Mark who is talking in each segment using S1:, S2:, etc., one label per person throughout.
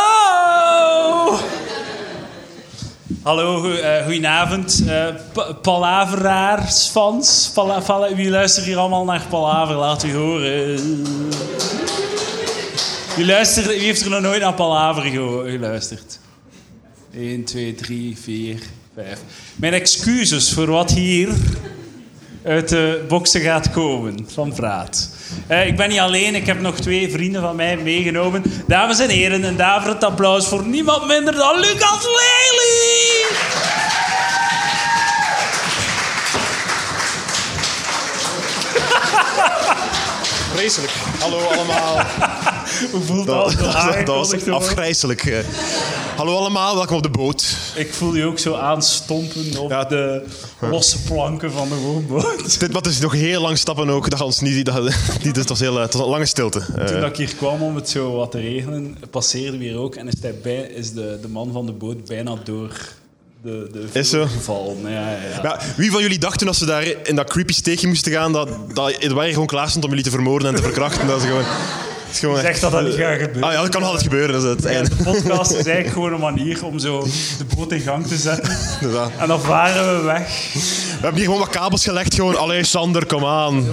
S1: Hallo! Hallo, goe- eh, goedenavond. eh pa- palaveraarsfans. Pala- pala- Jullie luisteren hier allemaal naar Palaver, laat u horen. Wie, luistert, wie heeft er nog nooit naar Palaver geho- geluisterd? 1, 2, 3, 4, 5. Mijn excuses voor wat hier uit de boksen gaat komen van Praat. Eh, ik ben niet alleen, ik heb nog twee vrienden van mij meegenomen. Dames en heren, een daverend applaus voor niemand minder dan Lucas Lely!
S2: Vreselijk. Hallo allemaal.
S1: Hoe voelt dat?
S2: Dat,
S1: om
S2: dat, was
S1: aangekondigd
S2: echt
S1: te worden?
S2: afgrijzelijk. eh. Hallo allemaal, welkom op de boot.
S1: Ik voel je ook zo aanstompen op
S2: Ja.
S1: de losse planken van de woonboot.
S2: Dit wat is nog heel lang stappen ook. Dat gaat ons niet, dat, niet het was heel, eh, het was een lange stilte. Eh,
S1: Toen ik hier kwam om het zo wat te regelen, passeerde weer ook en is, hij bij, is de, de man van de boot bijna door de, de
S2: Is zo.
S1: vloer gevallen. Ja, ja, ja.
S2: ja, wie van jullie dacht toen als ze daar in dat creepy steekje moesten gaan, dat, dat Edouard gewoon klaar stond om jullie te vermoorden en te verkrachten? Dat is gewoon... dat is gewoon
S1: Zeg dat dat niet gaat gebeuren.
S2: Ah ja, dat kan altijd gebeuren. Dat is het
S1: En
S2: einde.
S1: de podcast is eigenlijk gewoon een manier om zo de boot in gang te zetten.
S2: Inderdaad.
S1: En dan varen we weg.
S2: We hebben hier gewoon wat kabels gelegd. Gewoon, allee Sander, kom aan.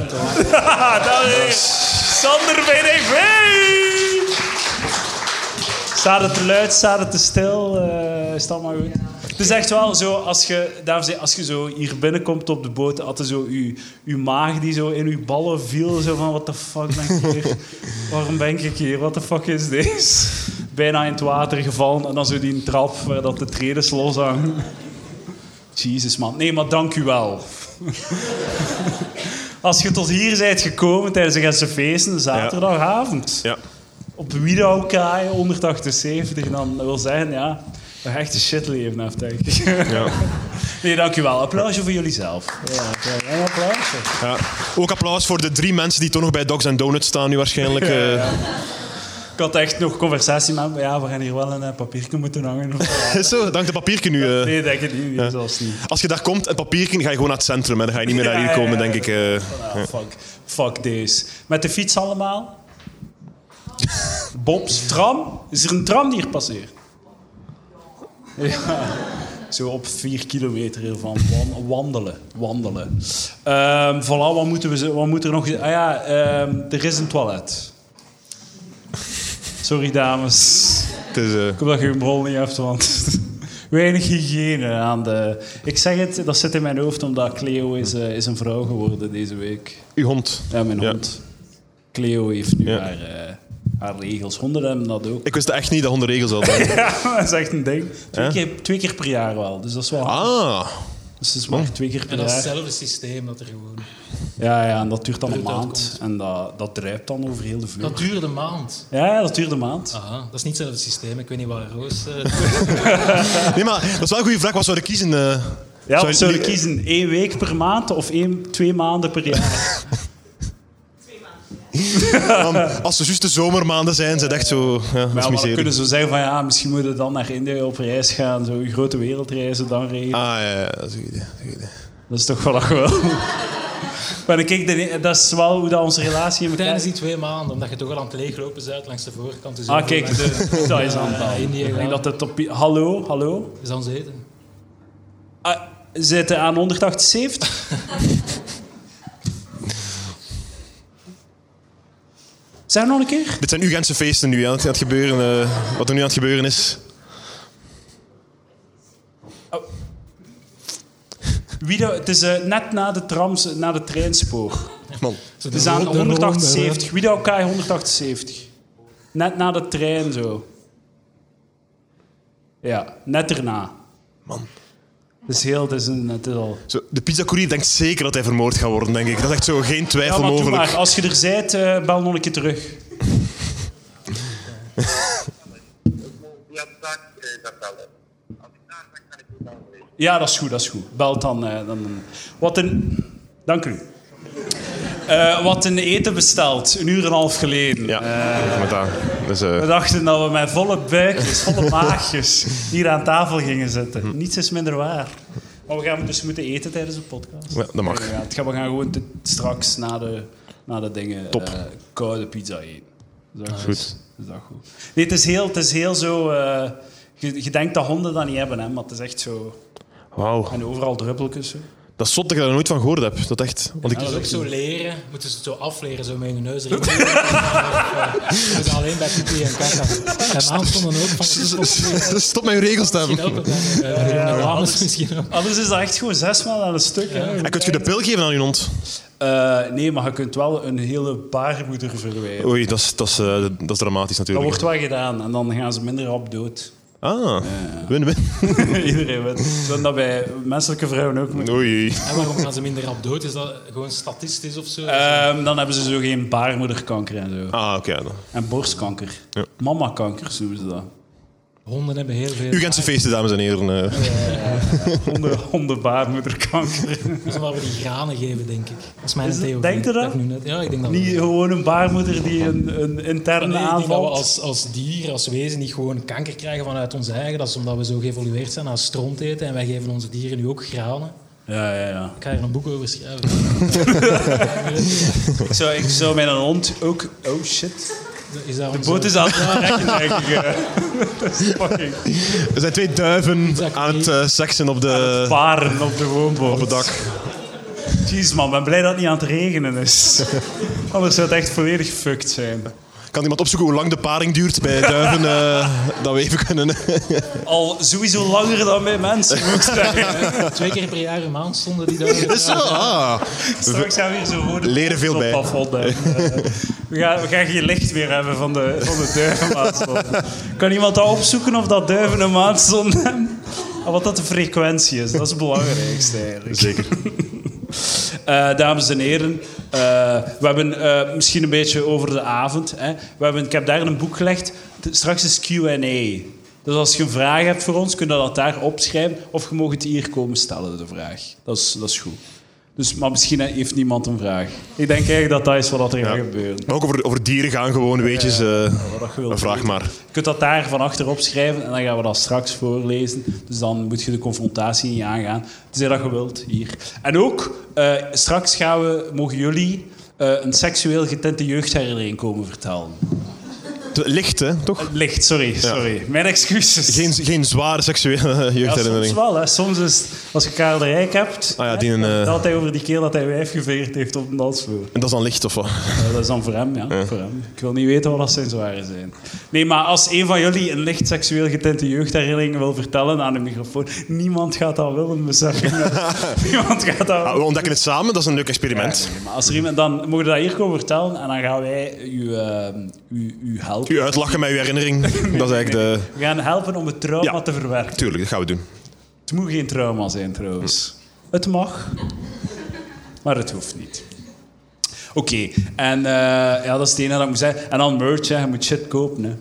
S1: Ah, Daar is Sander BDV! Staat het te luid, staat het te stil? Eh, is het allemaal goed? Het is echt wel zo, als je, dames en heren, als je zo hier binnenkomt op de boot, had je zo uw, uw maag die zo in uw ballen viel. Zo van, wat de fuck ben ik hier? Waarom ben ik hier? Wat de fuck is dit? Bijna in het water gevallen en dan zo die trap waar dat de tredes loshangen. Jezus man. Nee, maar dank u wel. Als je tot hier bent gekomen tijdens de Gentse feesten, zaterdagavond.
S2: Ja.
S1: Op Widowkaai 178, dan wil zeggen, ja, we gaan echt een shitleven af, denk ik.
S2: Ja.
S1: Nee, dankjewel. Applausje voor jullie zelf. Ja, ja, een applausje.
S2: Ja. Ook applaus voor de drie mensen die toch nog bij Dogs and Donuts staan nu waarschijnlijk. eh.
S1: Ik had echt nog conversatie met hem. Ja, we gaan hier wel een eh, papiertje moeten hangen.
S2: eh. Is zo, dank de papierken nu. eh.
S1: Nee, denk ik niet. Zelfs niet.
S2: Als je daar komt, een papierken, ga je gewoon naar het centrum. Hè. Dan ga je niet meer naar
S1: Ja,
S2: hier
S1: ja,
S2: komen,
S1: ja.
S2: denk ik. eh.
S1: Ah, fuck, fuck deze. Met de fiets allemaal? Bobs, tram? Is er een tram die hier passeert? Ja. Zo op vier kilometer hiervan. Wan- Wandelen. Wandelen. Ehm voilà, wat, moeten we, ze- wat moet er nog... Ah ja, ehm, er is een toilet. Sorry, dames.
S2: Het is, eh,
S1: Ik hoop dat je je bol niet hebt, want weinig hygiëne aan de... Ik zeg het, dat zit in mijn hoofd, omdat Cleo is, eh, is een vrouw geworden deze week.
S2: uw hond.
S1: Ja, mijn
S2: Ja.
S1: hond. Cleo heeft nu
S2: Ja.
S1: haar, eh, haar regels. Honden hebben dat ook.
S2: Ik wist echt niet dat honden regels hadden.
S1: Ja, dat is echt een ding. Twee,
S2: Ja?
S1: keer, twee keer per jaar wel. Dus dat is wel...
S2: ah,
S1: Dus het is maar twee keer
S3: En
S1: per
S3: dat is eh,
S1: jaar.
S3: hetzelfde systeem dat er gewoon.
S1: Ja, ja, en dat duurt dan een
S3: Eruit
S1: maand. En dat, dat druipt dan over heel de vloer.
S3: Dat duurde een maand.
S1: Ja, ja, dat duurt een maand.
S3: Aha, dat is niet hetzelfde systeem. Ik weet niet waar Roos. eh,
S2: nee, maar dat is wel een goede vraag. Wat zou je kiezen? eh?
S1: Ja,
S2: Zou
S1: we
S2: je-
S1: zullen kiezen één week per maand of één, twee maanden per jaar.
S2: Dan, als ze juist de zomermaanden zijn, zijn het echt zo...
S1: Maar
S2: Ja, dat is
S1: ja, maar dan
S2: miserie.
S1: kunnen ze zeggen van ja, misschien moeten we dan naar India op reis gaan. Zo grote wereldreizen dan regelen.
S2: Ah, ja, ja, dat is een goed idee, dat is een goed idee.
S1: Dat is toch wel wel. maar kijk, de- dat is wel hoe dat onze relatie in elkaar
S3: Tijdens die
S1: zit.
S3: twee maanden, omdat je toch al aan het leeglopen bent langs de voorkant. Dus
S1: Ah, kijk,
S3: overleg-
S1: de, dat is aan het
S3: Ja,
S1: al.
S3: Indië
S1: Ik denk
S3: gaan.
S1: dat het op... Hallo, hallo.
S3: is aan zeten.
S1: Ah, zitten aan 178? Zeg nog een keer.
S2: Dit zijn uw Gentse feesten nu, hè, wat, aan het gebeuren, eh, wat er nu aan het gebeuren is.
S1: Wie dat- het is eh, net na de, trams, na de treinspoor.
S2: Man.
S3: Zo
S1: Het
S3: de
S1: is aan
S3: ronde, ronde,
S1: 178. Wie dat elkaar 178? Net na de trein zo. Ja, net erna.
S2: Man.
S1: Het is heel, het is, een, het is al.
S2: Zo, de pizzacourier denkt zeker dat hij vermoord gaat worden, denk ik. Dat is echt zo geen twijfel
S1: Ja, maar doe
S2: mogelijk.
S1: maar. Als je er bent, eh, bel nog een keer terug.
S4: Ja, dat eh, dat wel. Als ik daar ben, kan ik het wel lezen.
S1: Ja, dat is goed, dat is goed. Bel dan. eh, dan wat een... Dank u. Eh, wat een eten besteld, een uur en een half geleden.
S2: Ja, met dat. Dus, eh,
S1: We dachten dat we met volle buikjes, volle maagjes hier aan tafel gingen zitten.
S2: Mhm.
S1: Niets is minder waar. Maar we gaan dus moeten eten tijdens de podcast.
S2: Ja, dat mag.
S1: We gaan, we gaan gewoon te- straks na de, na de dingen
S2: Top.
S1: eh, koude pizza eten. Dus dat is
S2: Goed.
S1: is dat goed. Nee, het is heel, het is heel zo... eh, je, je denkt dat honden dat niet hebben, hè, maar het is echt zo...
S2: Wauw.
S1: En overal druppeltjes. Zo.
S2: Dat is zot dat ik daar nooit van gehoord heb. Dat echt... Want ik...
S3: Dat is ook zo leren. Moeten ze het zo afleren, zo met hun neus erin. Dat is eh, alleen bij pipi en kaka. En aanstonden ook van...
S2: Stop met je regels te hebben.
S3: Misschien ook. eh,
S1: ja,
S3: Ronald
S1: anders-
S3: Lammers Misschien ook.
S1: Anders is dat echt gewoon zes maal aan een stuk. Hè.
S2: En kun je de pil geven aan je hond?
S1: Eh, nee, maar je kunt wel een hele baarmoeder verwijderen.
S2: Oei, dat is, dat is, eh, dat is dramatisch
S1: Dat
S2: natuurlijk.
S1: wordt wel gedaan en dan gaan ze minder rap dood.
S2: Ah, win-win.
S1: Iedereen weet. Zo dat bij menselijke vrouwen ook. moeten.
S2: Oei, oei.
S3: En waarom gaan ze minder rap dood? Is dat gewoon statistisch of zo?
S1: Ehm, dan hebben ze zo geen baarmoederkanker en zo.
S2: Ah, oké. dan.
S1: En borstkanker.
S2: Ja.
S1: Mamakankers noemen ze dat.
S3: Honden hebben heel veel...
S2: Uw Gentse feesten, dames en heren. eh.
S1: Honden, honden baarmoederkanker.
S3: Dat is waar we die granen geven, denk ik. Dat is mijn
S1: Is het-
S3: theorie.
S1: denkt u dat?
S3: Ik heb nu net- Ja, ik denk dat we-
S1: Niet gewoon een baarmoeder die een, een interne
S3: Nee, ik denk dat
S1: aanval.
S3: we als, als dier, als wezen, niet gewoon kanker krijgen vanuit ons eigen. Dat is omdat we zo geëvolueerd zijn als stront eten. En wij geven onze dieren nu ook granen.
S1: Ja, ja, ja.
S3: Ik ga hier een boek over schrijven.
S1: Ik zou, ik zou mijn hond ook. Oh shit.
S3: Is dat onze-
S1: Boot is aan het rekken, denk ik. eh. Dat is fucking.
S2: Er zijn twee duiven aan het eh, seksen op de...
S1: Paren op de woonboot. Op
S2: het dak.
S1: Jeez man, ben blij dat het niet aan het regenen is. Anders zou het echt volledig fucked zijn.
S2: Kan iemand opzoeken hoe lang de paring duurt bij duiven? eh, dat we even kunnen...
S1: Al sowieso langer dan bij mensen, moet ik zeggen.
S3: Twee keer per jaar een maand stonden die daar.
S2: Is
S1: Dus-
S2: zo? Ah.
S1: Straks gaan we hier zo rode
S2: Leren veel
S1: op
S2: bij.
S1: afronden. Eh, We gaan, we gaan geen licht meer hebben van de, van de duivenmaatstonden. Kan iemand dat opzoeken of dat duiven een maatstond hebben? En wat dat de frequentie is, dat is het belangrijkste eigenlijk.
S2: Zeker.
S1: Eh, dames en heren, eh, we hebben eh, misschien een beetje over de avond. Hè. We hebben, ik heb daar een boek gelegd. T- Straks is QA. Dus als je een vraag hebt voor ons, kun je dat daar opschrijven. Of je mag het hier komen stellen, de vraag. Dat is, dat is goed. Dus, maar misschien heeft niemand een vraag. Ik denk eigenlijk dat dat is wat er gaat gebeuren.
S2: Maar ook over, over dieren gaan gewoon, weetjes. eh
S1: Wat je wilt
S2: een vraag
S1: weten.
S2: maar.
S1: Je kunt dat daar van achter opschrijven en dan gaan we dat straks voorlezen. Dus dan moet je de confrontatie niet aangaan. Tenzij dat je wilt, hier. En ook, eh, straks gaan we, mogen jullie eh, een seksueel getinte jeugdherinnering komen vertellen.
S2: Licht, hè, toch?
S1: Licht, sorry, sorry. Mijn excuses.
S2: Geen, geen zware seksuele
S1: Ja, soms
S2: jeugdherinnering.
S1: wel, hè. Soms is het- als je Karel de Rijk hebt...
S2: Ah ja,
S1: hè,
S2: die een, eh,
S1: Dat hij over die keer dat hij wijf geveerd heeft op de dansvloer.
S2: En dat is dan licht, of wat?
S1: Ja, dat is dan voor hem, ja. Voor hem. Ik wil niet weten wat dat zijn zware zijn. Nee, maar als een van jullie een licht seksueel getinte jeugdherinnering wil vertellen aan de microfoon, niemand gaat dat willen, besef ik. niemand gaat dat
S2: Ah,
S1: willen.
S2: we ontdekken het samen, dat is een leuk experiment.
S1: Maar als er iemand, dan mogen we dat hier komen vertellen en dan gaan wij u, eh, u, u helpen.
S2: U uitlachen met uw herinnering, dat is eigenlijk de...
S1: We gaan helpen om het trauma
S2: Ja.
S1: te verwerken.
S2: Tuurlijk, dat gaan we doen.
S1: Het moet geen trauma zijn trouwens. Het mag, maar het hoeft niet. Oké, en eh, ja, dat is het enige dat ik moet zeggen. En dan merch, hè. je moet shit kopen. Hè.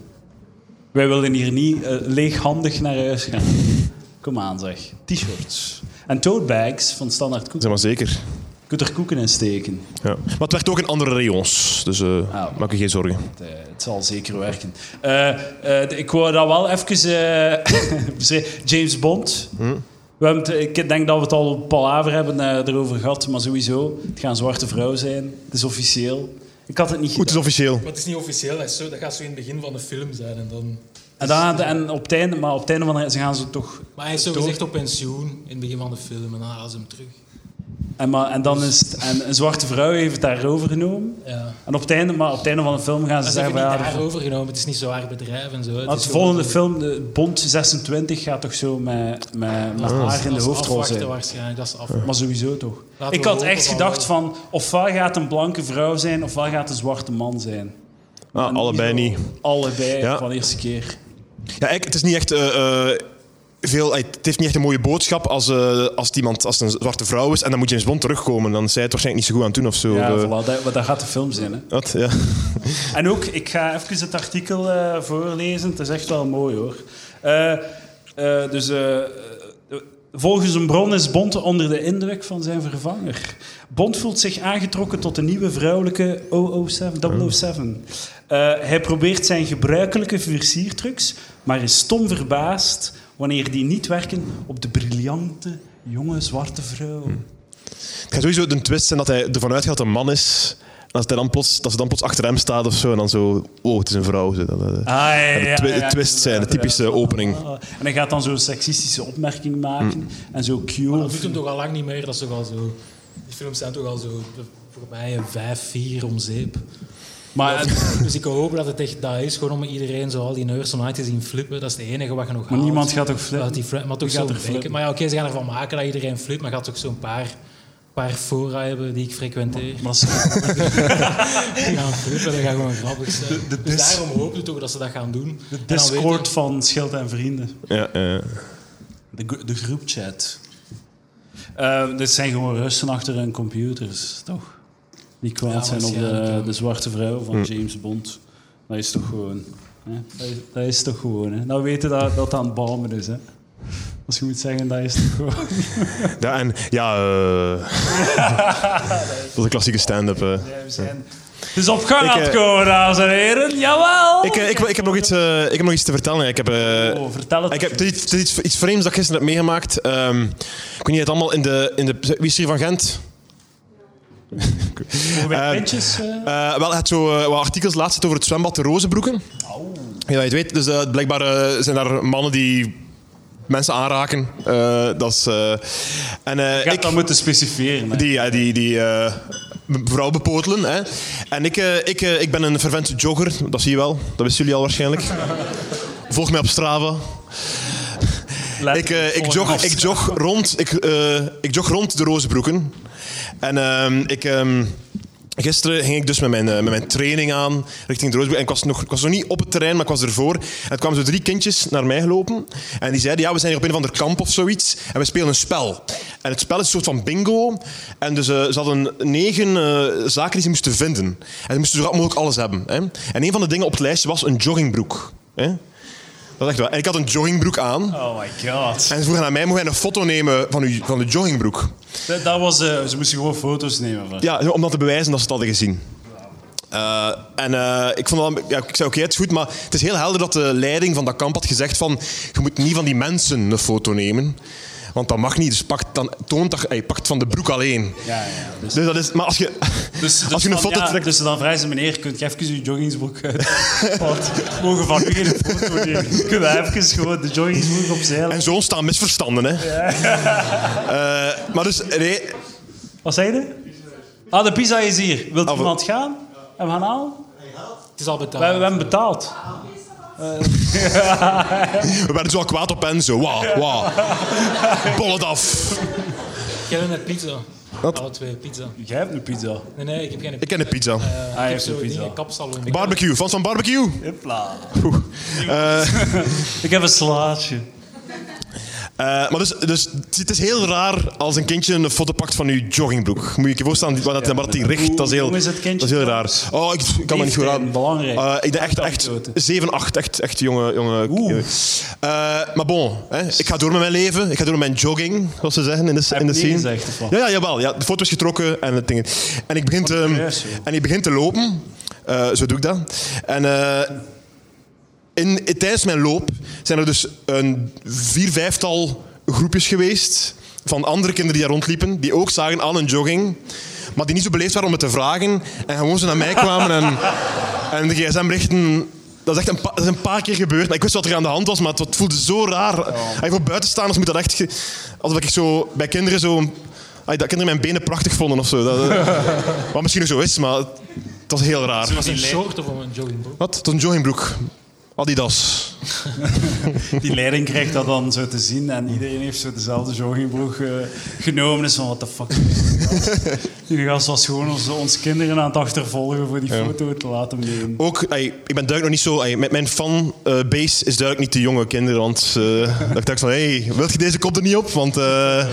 S1: Wij willen hier niet eh, leeghandig naar huis gaan. Kom aan zeg, t-shirts. En tote bags van standaard koeken.
S2: Zeg maar zeker.
S1: Je kunt er koeken in steken.
S2: Ja. Maar het werd ook in andere rayons, dus eh,
S1: Ah.
S2: maak je geen zorgen.
S1: Het, eh, het zal zeker werken. Eh, eh, ik wou dat wel even eh, beschrijven. James Bond. We hebben het- ik denk dat we het al op Palaver hebben eh, erover gehad, maar sowieso. Het gaat een zwarte vrouw zijn. Het is officieel. Ik had het niet
S2: Goed, het
S1: gedaan.
S2: is officieel.
S3: Maar het is niet officieel, dat, is zo, dat gaat zo in het begin van de film zijn. En dan...
S1: En, dan, aan het- en op het einde, maar op het einde van de- ze gaan ze toch.
S3: Maar hij is zo gezegd op pensioen in het begin van de film en dan halen ze hem terug.
S1: En, maar, en dan is het, en een zwarte vrouw heeft het daarover genomen.
S3: Ja.
S1: En op het einde, maar op het einde van de film gaan ze
S3: Dat is
S1: zeggen:
S3: even niet
S1: van, ja, de-
S3: daar overgenomen, het is niet zo haar bedrijf en zo.
S1: maar het
S3: gewoon-
S1: volgende film, de Bond 26, gaat toch zo met, met, met haar Ah, in
S3: Dat
S1: de
S3: is
S1: hoofdrol
S3: afwachten
S1: zijn.
S3: waarschijnlijk, dat is af.
S1: Maar sowieso toch.
S3: Laten we
S1: ik had
S3: hopen
S1: echt
S3: van eh,
S1: gedacht van, ofwel gaat een blanke vrouw zijn, ofwel gaat een zwarte man zijn.
S2: Ah,
S1: En
S2: allebei
S1: zo
S2: niet.
S1: Allebei
S2: Ja.
S1: van de eerste keer.
S2: Ja, eigenlijk, het is niet echt. eh, eh, veel, eh, het heeft niet echt een mooie boodschap als, eh, als, het iemand, als het een zwarte vrouw is en dan moet James Bond terugkomen. Dan is zij het waarschijnlijk niet zo goed aan het doen of zo.
S1: Ja,
S2: Eh,
S1: voilà, dat, dat gaat de film zijn. Hè.
S2: wat? Ja.
S1: En ook, ik ga even het artikel eh, voorlezen. Het is echt wel mooi hoor. Eh, eh, dus eh, eh, volgens een bron is Bond onder de indruk van zijn vervanger. Bond voelt zich aangetrokken tot de nieuwe vrouwelijke 007. 007. Eh, hij probeert zijn gebruikelijke versiertrucs, maar is stom verbaasd wanneer die niet werken op de briljante jonge zwarte vrouw.
S2: Hm. Het gaat sowieso een twist zijn dat hij ervan uitgaat dat het een man is. En als hij dan plots, dat ze dan plots achter hem staat of zo en dan zo, oh, het is een vrouw. Zo, dat, eh, dat-
S1: Ah, ja, ja,
S2: de
S1: ja,
S2: twi-
S1: ja,
S2: twist zijn, de
S1: inderdaad,
S2: typische
S1: ja.
S2: opening.
S1: Eh, En hij gaat dan zo'n seksistische opmerking maken.
S2: Mm.
S1: En zo
S3: Maar
S1: cute.
S3: dat doet hem toch al lang niet meer. Dat is toch al zo... Die films zijn toch al zo... Voor mij een vijf, vier om zeep.
S1: Maar,
S3: Dus ik hoop dat het echt dat is. Gewoon om iedereen zo al die nerds online te zien flippen. Dat is het enige wat je nog haalt.
S1: niemand gaat toch flippen?
S3: Uit die fri- maar
S1: Wie
S3: toch
S1: gaat
S3: zo'n
S1: er
S3: bekken.
S1: flippen?
S3: Maar ja, oké, ze gaan ervan maken dat iedereen flipt. Maar gaat toch zo'n paar, paar fora hebben die ik frequenteer.
S1: maar dat is-
S3: Die gaan flippen, dat gaat gewoon grappig zijn.
S1: de
S3: dus
S1: dis-
S3: daarom hoop ik toch dat ze dat gaan doen. En dan weet
S1: Discord
S3: ik-
S1: van Schild en Vrienden.
S2: Ja, ja.
S1: De, gro- de groepchat. Eh dit zijn gewoon Russen achter hun computers, toch? Die kwaad
S3: Ja,
S1: zijn op
S3: waarschijnlijk,
S1: de,
S3: ja.
S1: de zwarte vrouw
S2: Mm.
S1: van James Bond. Dat is toch gewoon... Hè? Dat, is, dat is toch gewoon, hè? Nou weten dat dat aan het balmen is, hè? Als je moet zeggen, dat is toch gewoon...
S2: ja, en ja, eh, dat is een klassieke stand-up. eh.
S1: Het is op gang
S2: Ik,
S1: aan het
S2: eh,
S1: komen, dames en heren. Jawel!
S2: Ik, eh, ik, ik, heb nog iets, eh, ik heb nog iets te vertellen. Ik heb, eh,
S1: Oh, vertel het.
S2: Ik heb, het is, iets- het is iets, iets vreemds dat ik gisteren heb meegemaakt. Ehm, ik weet niet, het allemaal in de, in de... Wie is hier van Gent?
S1: Mogen wij
S2: eh,
S1: pintjes, eh?
S2: Eh, wel, het zo eh, wat artikels laatst zitten over het zwembad de Rozenbroeken. Ja, je weet, dus eh, blijkbaar eh, zijn daar mannen die mensen aanraken. Eh, dat is... eh, en eh,
S1: Je gaat
S2: ik...
S1: dat moeten specificeren, hè?
S2: Die, ja, die, die eh vrouw bepotelen. Hè. En ik, eh, ik, eh, ik ben een fervent jogger, dat zie je wel. Dat wisten jullie al waarschijnlijk. Volg mij op Strava.
S1: Let-
S2: Ik, eh, ik,
S1: volg
S2: jog,
S1: af.
S2: ik, jog rond, ik, eh, ik jog rond de Rozenbroeken. En ehm, ik, ehm, gisteren ging ik dus met mijn, eh, met mijn training aan richting de Rozenbroeken. En ik was, nog, ik was nog niet op het terrein, maar ik was ervoor. En er kwamen zo drie kindjes naar mij gelopen. En die zeiden, ja, we zijn hier op een of ander kamp of zoiets. En we spelen een spel. En het spel is een soort van bingo. En dus eh, ze hadden negen eh, zaken die ze moesten vinden. En ze moesten zo rap mogelijk alles hebben. Hè. En een van de dingen op het lijstje was een joggingbroek. Hè. Dat is echt wel. En ik had een joggingbroek aan.
S1: Oh my god.
S2: En ze vroegen aan mij, mogen wij een foto nemen van, uw, van de joggingbroek?
S1: Dat, dat was, eh, ze moesten gewoon foto's nemen van.
S2: Ja, om dat te bewijzen dat ze het hadden gezien. Eh, en eh, ik, vond wel, ja, ik zei, oké, het is goed, maar het is heel helder dat de leiding van dat kamp had gezegd van, je moet niet van die mensen een foto nemen. Want dat mag niet, dus pakt, dan, toont dat, ey, pakt van de broek alleen.
S1: Ja, ja. Dus,
S2: Dus dat is, maar als je,
S1: dus, dus
S2: als je een
S1: van,
S2: foto
S1: ja,
S2: trekt...
S1: Dus dan vragen ze, meneer, kunt je even uw joggingsbroek uit? Want we mogen van u geen foto nemen. Kunnen we even gewoon de joggingsbroek opzij
S2: En
S1: leggen?
S2: zo ontstaan misverstanden, hè. Eh, maar dus, nee,
S1: Wat zei je? Ah, de pizza is hier. Wilt
S2: Ah,
S1: iemand gaan? Hem gaan halen?
S3: Het is al betaald.
S1: We, we hebben betaald.
S2: we werden zo al kwaad op en zo, wauw, wauw. Bol het af.
S3: Jij hebt net pizza.
S2: Wat?
S3: Alle twee pizza.
S1: Jij hebt een pizza.
S3: Nee, nee, ik heb geen
S2: Ik ken de pizza.
S3: Eh,
S1: hij
S3: ik heb
S1: heeft een
S3: zo'n
S1: pizza.
S3: ding, een kapsalon.
S2: Barbecue, fans van barbecue.
S1: Hopla.
S2: Oeh.
S1: Ik heb een slaatje.
S2: Eh, maar dus, dus het is heel raar als een kindje een foto pakt van uw joggingbroek. Moet je je voorstellen waar dat, waar dat die richt. Dat is heel,
S1: Hoe is het kindje?
S2: dat is heel raar. Oh, ik kan me niet goed
S1: Leeftijd,
S2: raden.
S1: belangrijk.
S2: Eh, ik denk echt, echt 7, 8. Echt, echt jonge... jonge
S1: Oeh.
S2: jonge. Eh, maar bon, hè, ik ga door met mijn leven. Ik ga door met mijn jogging, zoals ze zeggen in de, in de
S1: je
S2: scene.
S1: nee gezegd, of wat?
S2: ja, ja, jawel. Ja, de foto is getrokken en het ding. En ik begin te,
S1: juist, joh.
S2: en ik begin te lopen. Eh, zo doe ik dat. En... eh, in, in- tijdens mijn loop zijn er dus een vier, vijftal groepjes geweest van andere kinderen die daar rondliepen, die ook zagen aan een jogging, maar die niet zo beleefd waren om het te vragen. En gewoon ze naar mij kwamen en, en de gsm-berichten... Dat is echt een, pa- dat is een paar keer gebeurd. Ik wist wat er aan de hand was, maar het, het voelde zo raar. Als Voor buitenstaanders moet dat echt... ge- Alsof ik zo bij kinderen zo... ay, dat kinderen mijn benen prachtig vonden of zo. Dat, eh, wat misschien ook zo is, maar het, het was heel raar.
S3: was een short of een joggingbroek?
S2: Wat? Het was een joggingbroek. Adidas.
S1: Die leiding krijgt dat dan zo te zien en iedereen heeft zo dezelfde joggingbroek eh, genomen. Is van, what the fuck. Die gast was gewoon ons, ons kinderen aan het achtervolgen voor die foto te laten nemen.
S2: Ook, ey, ik ben duidelijk nog niet zo. ey, met mijn fanbase is duidelijk niet de jonge kinderen. Want eh, dat ik dacht van, hé, hey, wilt je deze komt er niet op? Want eh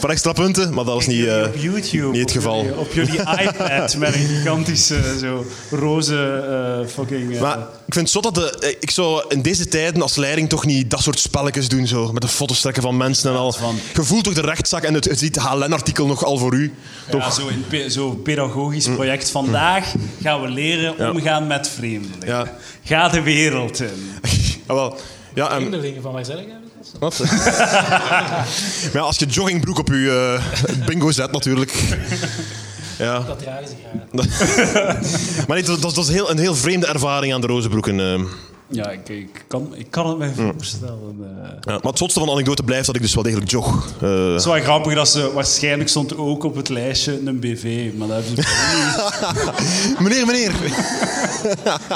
S2: voor extra punten. Maar dat was niet. eh,
S1: op YouTube.
S2: niet het
S1: op
S2: geval.
S1: jullie- Op jullie, iPad met een gigantische eh, zo, roze eh, fucking... eh,
S2: maar ik vind het zot dat de, eh, ik zou in deze tijden als leiding toch niet dat soort spelletjes doen. Zo, met de foto's trekken van mensen en al.
S1: van-
S2: Je voelt toch de rechtszaak en het, het ziet HLN-artikel nog al voor u. Toch? Mm.
S1: ja, zo, in pe- zo pedagogisch project. Vandaag gaan we leren omgaan met vreemdelingen.
S2: Ja.
S1: Ga de wereld in.
S2: Ah, wel. Ja, en,
S3: Kinderlingen van waar zijn die eigenlijk?
S2: wat? maar ja, als je joggingbroek op je eh, bingo zet natuurlijk. Ja.
S3: Dat dragen ze graag.
S2: Maar nee, dat, dat, dat is heel, een heel vreemde ervaring aan de Rozenbroeken. eh.
S1: Ja, ik, ik, kan, ik kan het me
S2: Mm.
S1: voorstellen. eh.
S2: Ja, maar het zotste van de anekdote blijft dat ik dus wel degelijk jog. Eh,
S1: Het is wel grappig dat ze waarschijnlijk stond ook op het lijstje een BV, maar dat hebben ze
S2: meneer, meneer.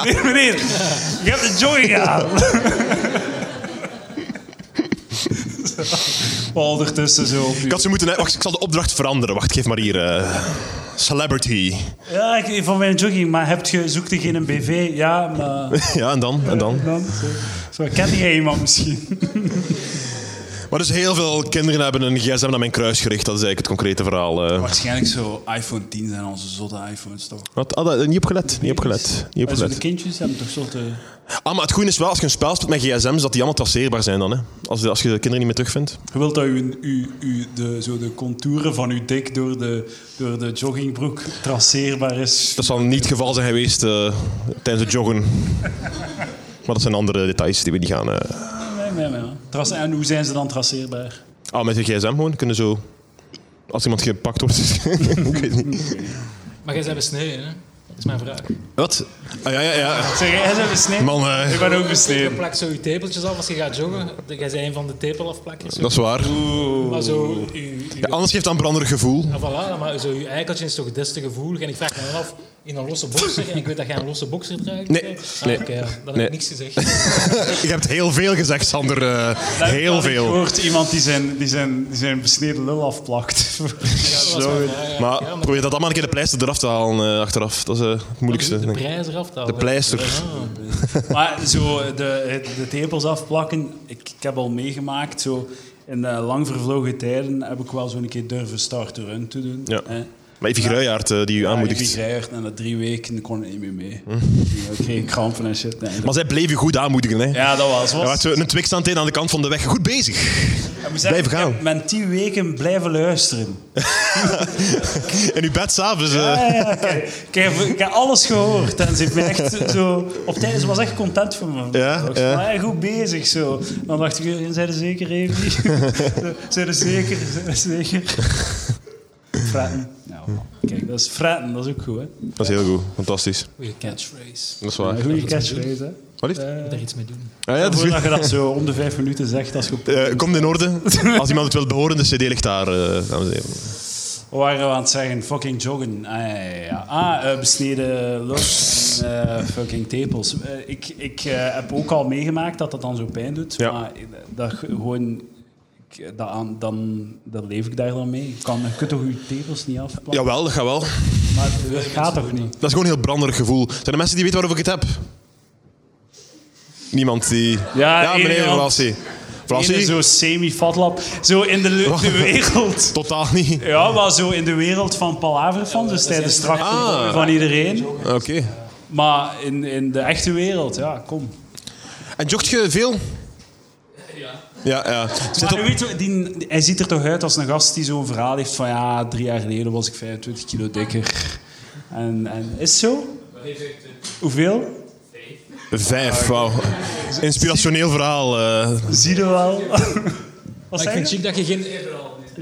S1: Nee, meneer, je hebt de jogging aan. Al ertussen zo. op je-
S2: Ik had ze moeten... Wacht, ik zal de opdracht veranderen. Wacht, geef maar hier. eh, celebrity.
S1: Ja, ik, van mijn jogging, maar hebt je, zoekt je geen BV? Ja, maar...
S2: Ja, en dan? En dan?
S1: Dan, zo. Zo, ken jij iemand misschien?
S2: Maar dus heel veel kinderen hebben een gsm naar mijn kruis gericht. Dat is eigenlijk het concrete verhaal. eh.
S1: Waarschijnlijk zo iPhone 10 zijn onze zotte iPhones, toch?
S2: Wat? Ah, dat- niet opgelet. Niet opgelet. Niet
S1: Maar zo de
S2: opgelet.
S1: kindjes hebben toch zotte...
S2: Ah, maar het goede is wel, als je een spel speelt met gsm's, dat die allemaal traceerbaar zijn dan. Hè? Als, als je de kinderen niet meer terugvindt.
S1: Je wilt dat u, u, u de, zo de contouren van uw dik door de, door de joggingbroek traceerbaar is.
S2: Dat zal niet het geval zijn geweest eh, tijdens het joggen. Maar dat zijn andere details die we niet gaan... eh,
S1: Nee, nee, nee. Tras- en hoe zijn ze dan traceerbaar?
S2: Ah, met de gsm gewoon. Kunnen zo... Als iemand gepakt wordt... ik weet niet.
S3: Maar jij bent besneden, hè? Dat is mijn vraag.
S2: Wat? Ah, ja, ja, ja.
S1: Zeg, jij bent besneden?
S2: Man, eh,
S1: Ik ben ook
S3: Je
S1: besneden.
S3: plakt zo je tepeltjes af als je gaat joggen. Jij bent een van de tepelafplakkers. zo.
S2: dat is waar.
S3: Maar zo, je, je,
S2: Ja, anders geeft dat een branderig gevoel.
S3: Ja, voilà, maar zo, je eikeltje is toch des te gevoelig. En ik vraag me dan af, in een losse boxer, en ik weet dat jij een losse boxer draagt.
S2: Nee,
S3: Ah,
S2: nee,
S3: Oké, ja, dan heb
S2: nee.
S3: ik niks gezegd.
S2: Je hebt heel veel gezegd, Sander. eh, heel
S1: Ik
S2: veel.
S1: hoort iemand die zijn, die, zijn, die zijn besneden lul afplakt.
S3: Zo, ja,
S2: Maar
S3: ja,
S2: probeer dat allemaal een keer de pleister eraf te halen eh, achteraf. Dat is eh, het moeilijkste.
S3: de
S2: denk ik.
S3: prijs eraf te
S2: De
S3: halen.
S2: pleister.
S3: Ah.
S1: maar zo de, de tepels afplakken, ik, ik heb al meegemaakt. Zo, in eh, lang vervlogen tijden heb ik wel zo'n keer durven start-run te doen.
S2: Ja.
S1: hè.
S2: Maar Evie Gruijaard, eh, die u
S1: Ja, ik
S2: aanmoedigt.
S1: begrijp, en na drie weken kon ik niet meer mee. Ik kreeg krampen en shit. Nee, dat-
S2: Hm. Maar zij bleef u goed aanmoedigen. Hè?
S1: ja, dat was.
S2: Hij
S1: was
S2: had zo een twikstanteen aan de kant van de weg. Goed bezig.
S1: Ik moet zeggen,
S2: blijven gaan.
S1: Ik heb mijn tien weken blijven luisteren.
S2: In uw bed s'avonds. eh.
S1: Ja, ja, ik, heb- ik heb, ik heb alles gehoord en ze heeft me echt zo... Op tijd, ze was echt content van me.
S2: Ja,
S1: Ik was
S2: ja.
S1: Maar ja, goed bezig zo. Dan dacht ik, "En zijn er zeker, Evie? zijn er zeker? Zijn er zeker? Fretten. Nou, kijk, dat is fretten, dat is ook goed, hè?
S2: Dat is heel goed. Fantastisch.
S3: Goeie catchphrase.
S2: Dat is
S1: Een
S2: waar.
S1: goede catchphrase, hè?
S2: Wat lief?
S3: Moet Daar iets mee doen.
S2: Ah, ja, dat is goed.
S1: Voordat je dat zo om de vijf minuten zegt, als je op
S2: Eh, komt in orde. Als iemand het wil behoren, de CD ligt daar. eh, dames en heren.
S1: We waren we aan het zeggen, fucking joggen. Ah, ja, ja, ja. ah eh, besneden lust en eh, fucking tepels. Eh, ik ik eh, heb ook al meegemaakt dat dat dan zo pijn doet.
S2: Ja.
S1: Maar dat ge- gewoon... ik- Dat, aan- dan, dan leef ik daar dan mee. Je, kan, je kunt toch je tepels niet afplakken?
S2: Jawel, dat gaat wel.
S1: Maar dat gaat toch niet?
S2: Dat is gewoon een heel branderig gevoel. Zijn er mensen die weten waarover ik het heb? Niemand die...
S1: Ja, één
S2: meneer
S1: iemand.
S2: Vlassie.
S1: Ene
S2: Vlassie?
S1: Zo semi-fatlap. Zo in de, lu- de wereld.
S2: Totaal niet.
S1: Ja, maar zo in de wereld van palaverfans. Dus tijdens strak
S2: Ah.
S1: van iedereen.
S2: Oké.
S1: Maar in, in de echte wereld, ja, kom.
S2: En jogt je veel? Ja. Ja, ja. Zit
S1: Maar
S2: op...
S1: je weet, die, hij ziet er toch uit als een gast die zo'n verhaal heeft van ja, drie jaar geleden was ik 25 kilo dikker. En, en is het zo? Hoeveel?
S2: Vijf, wauw. Inspirationeel verhaal. eh.
S1: Zie je wel. Wat
S3: Maar ik
S1: zei
S3: vind het
S1: je?
S3: chic dat je geen... Het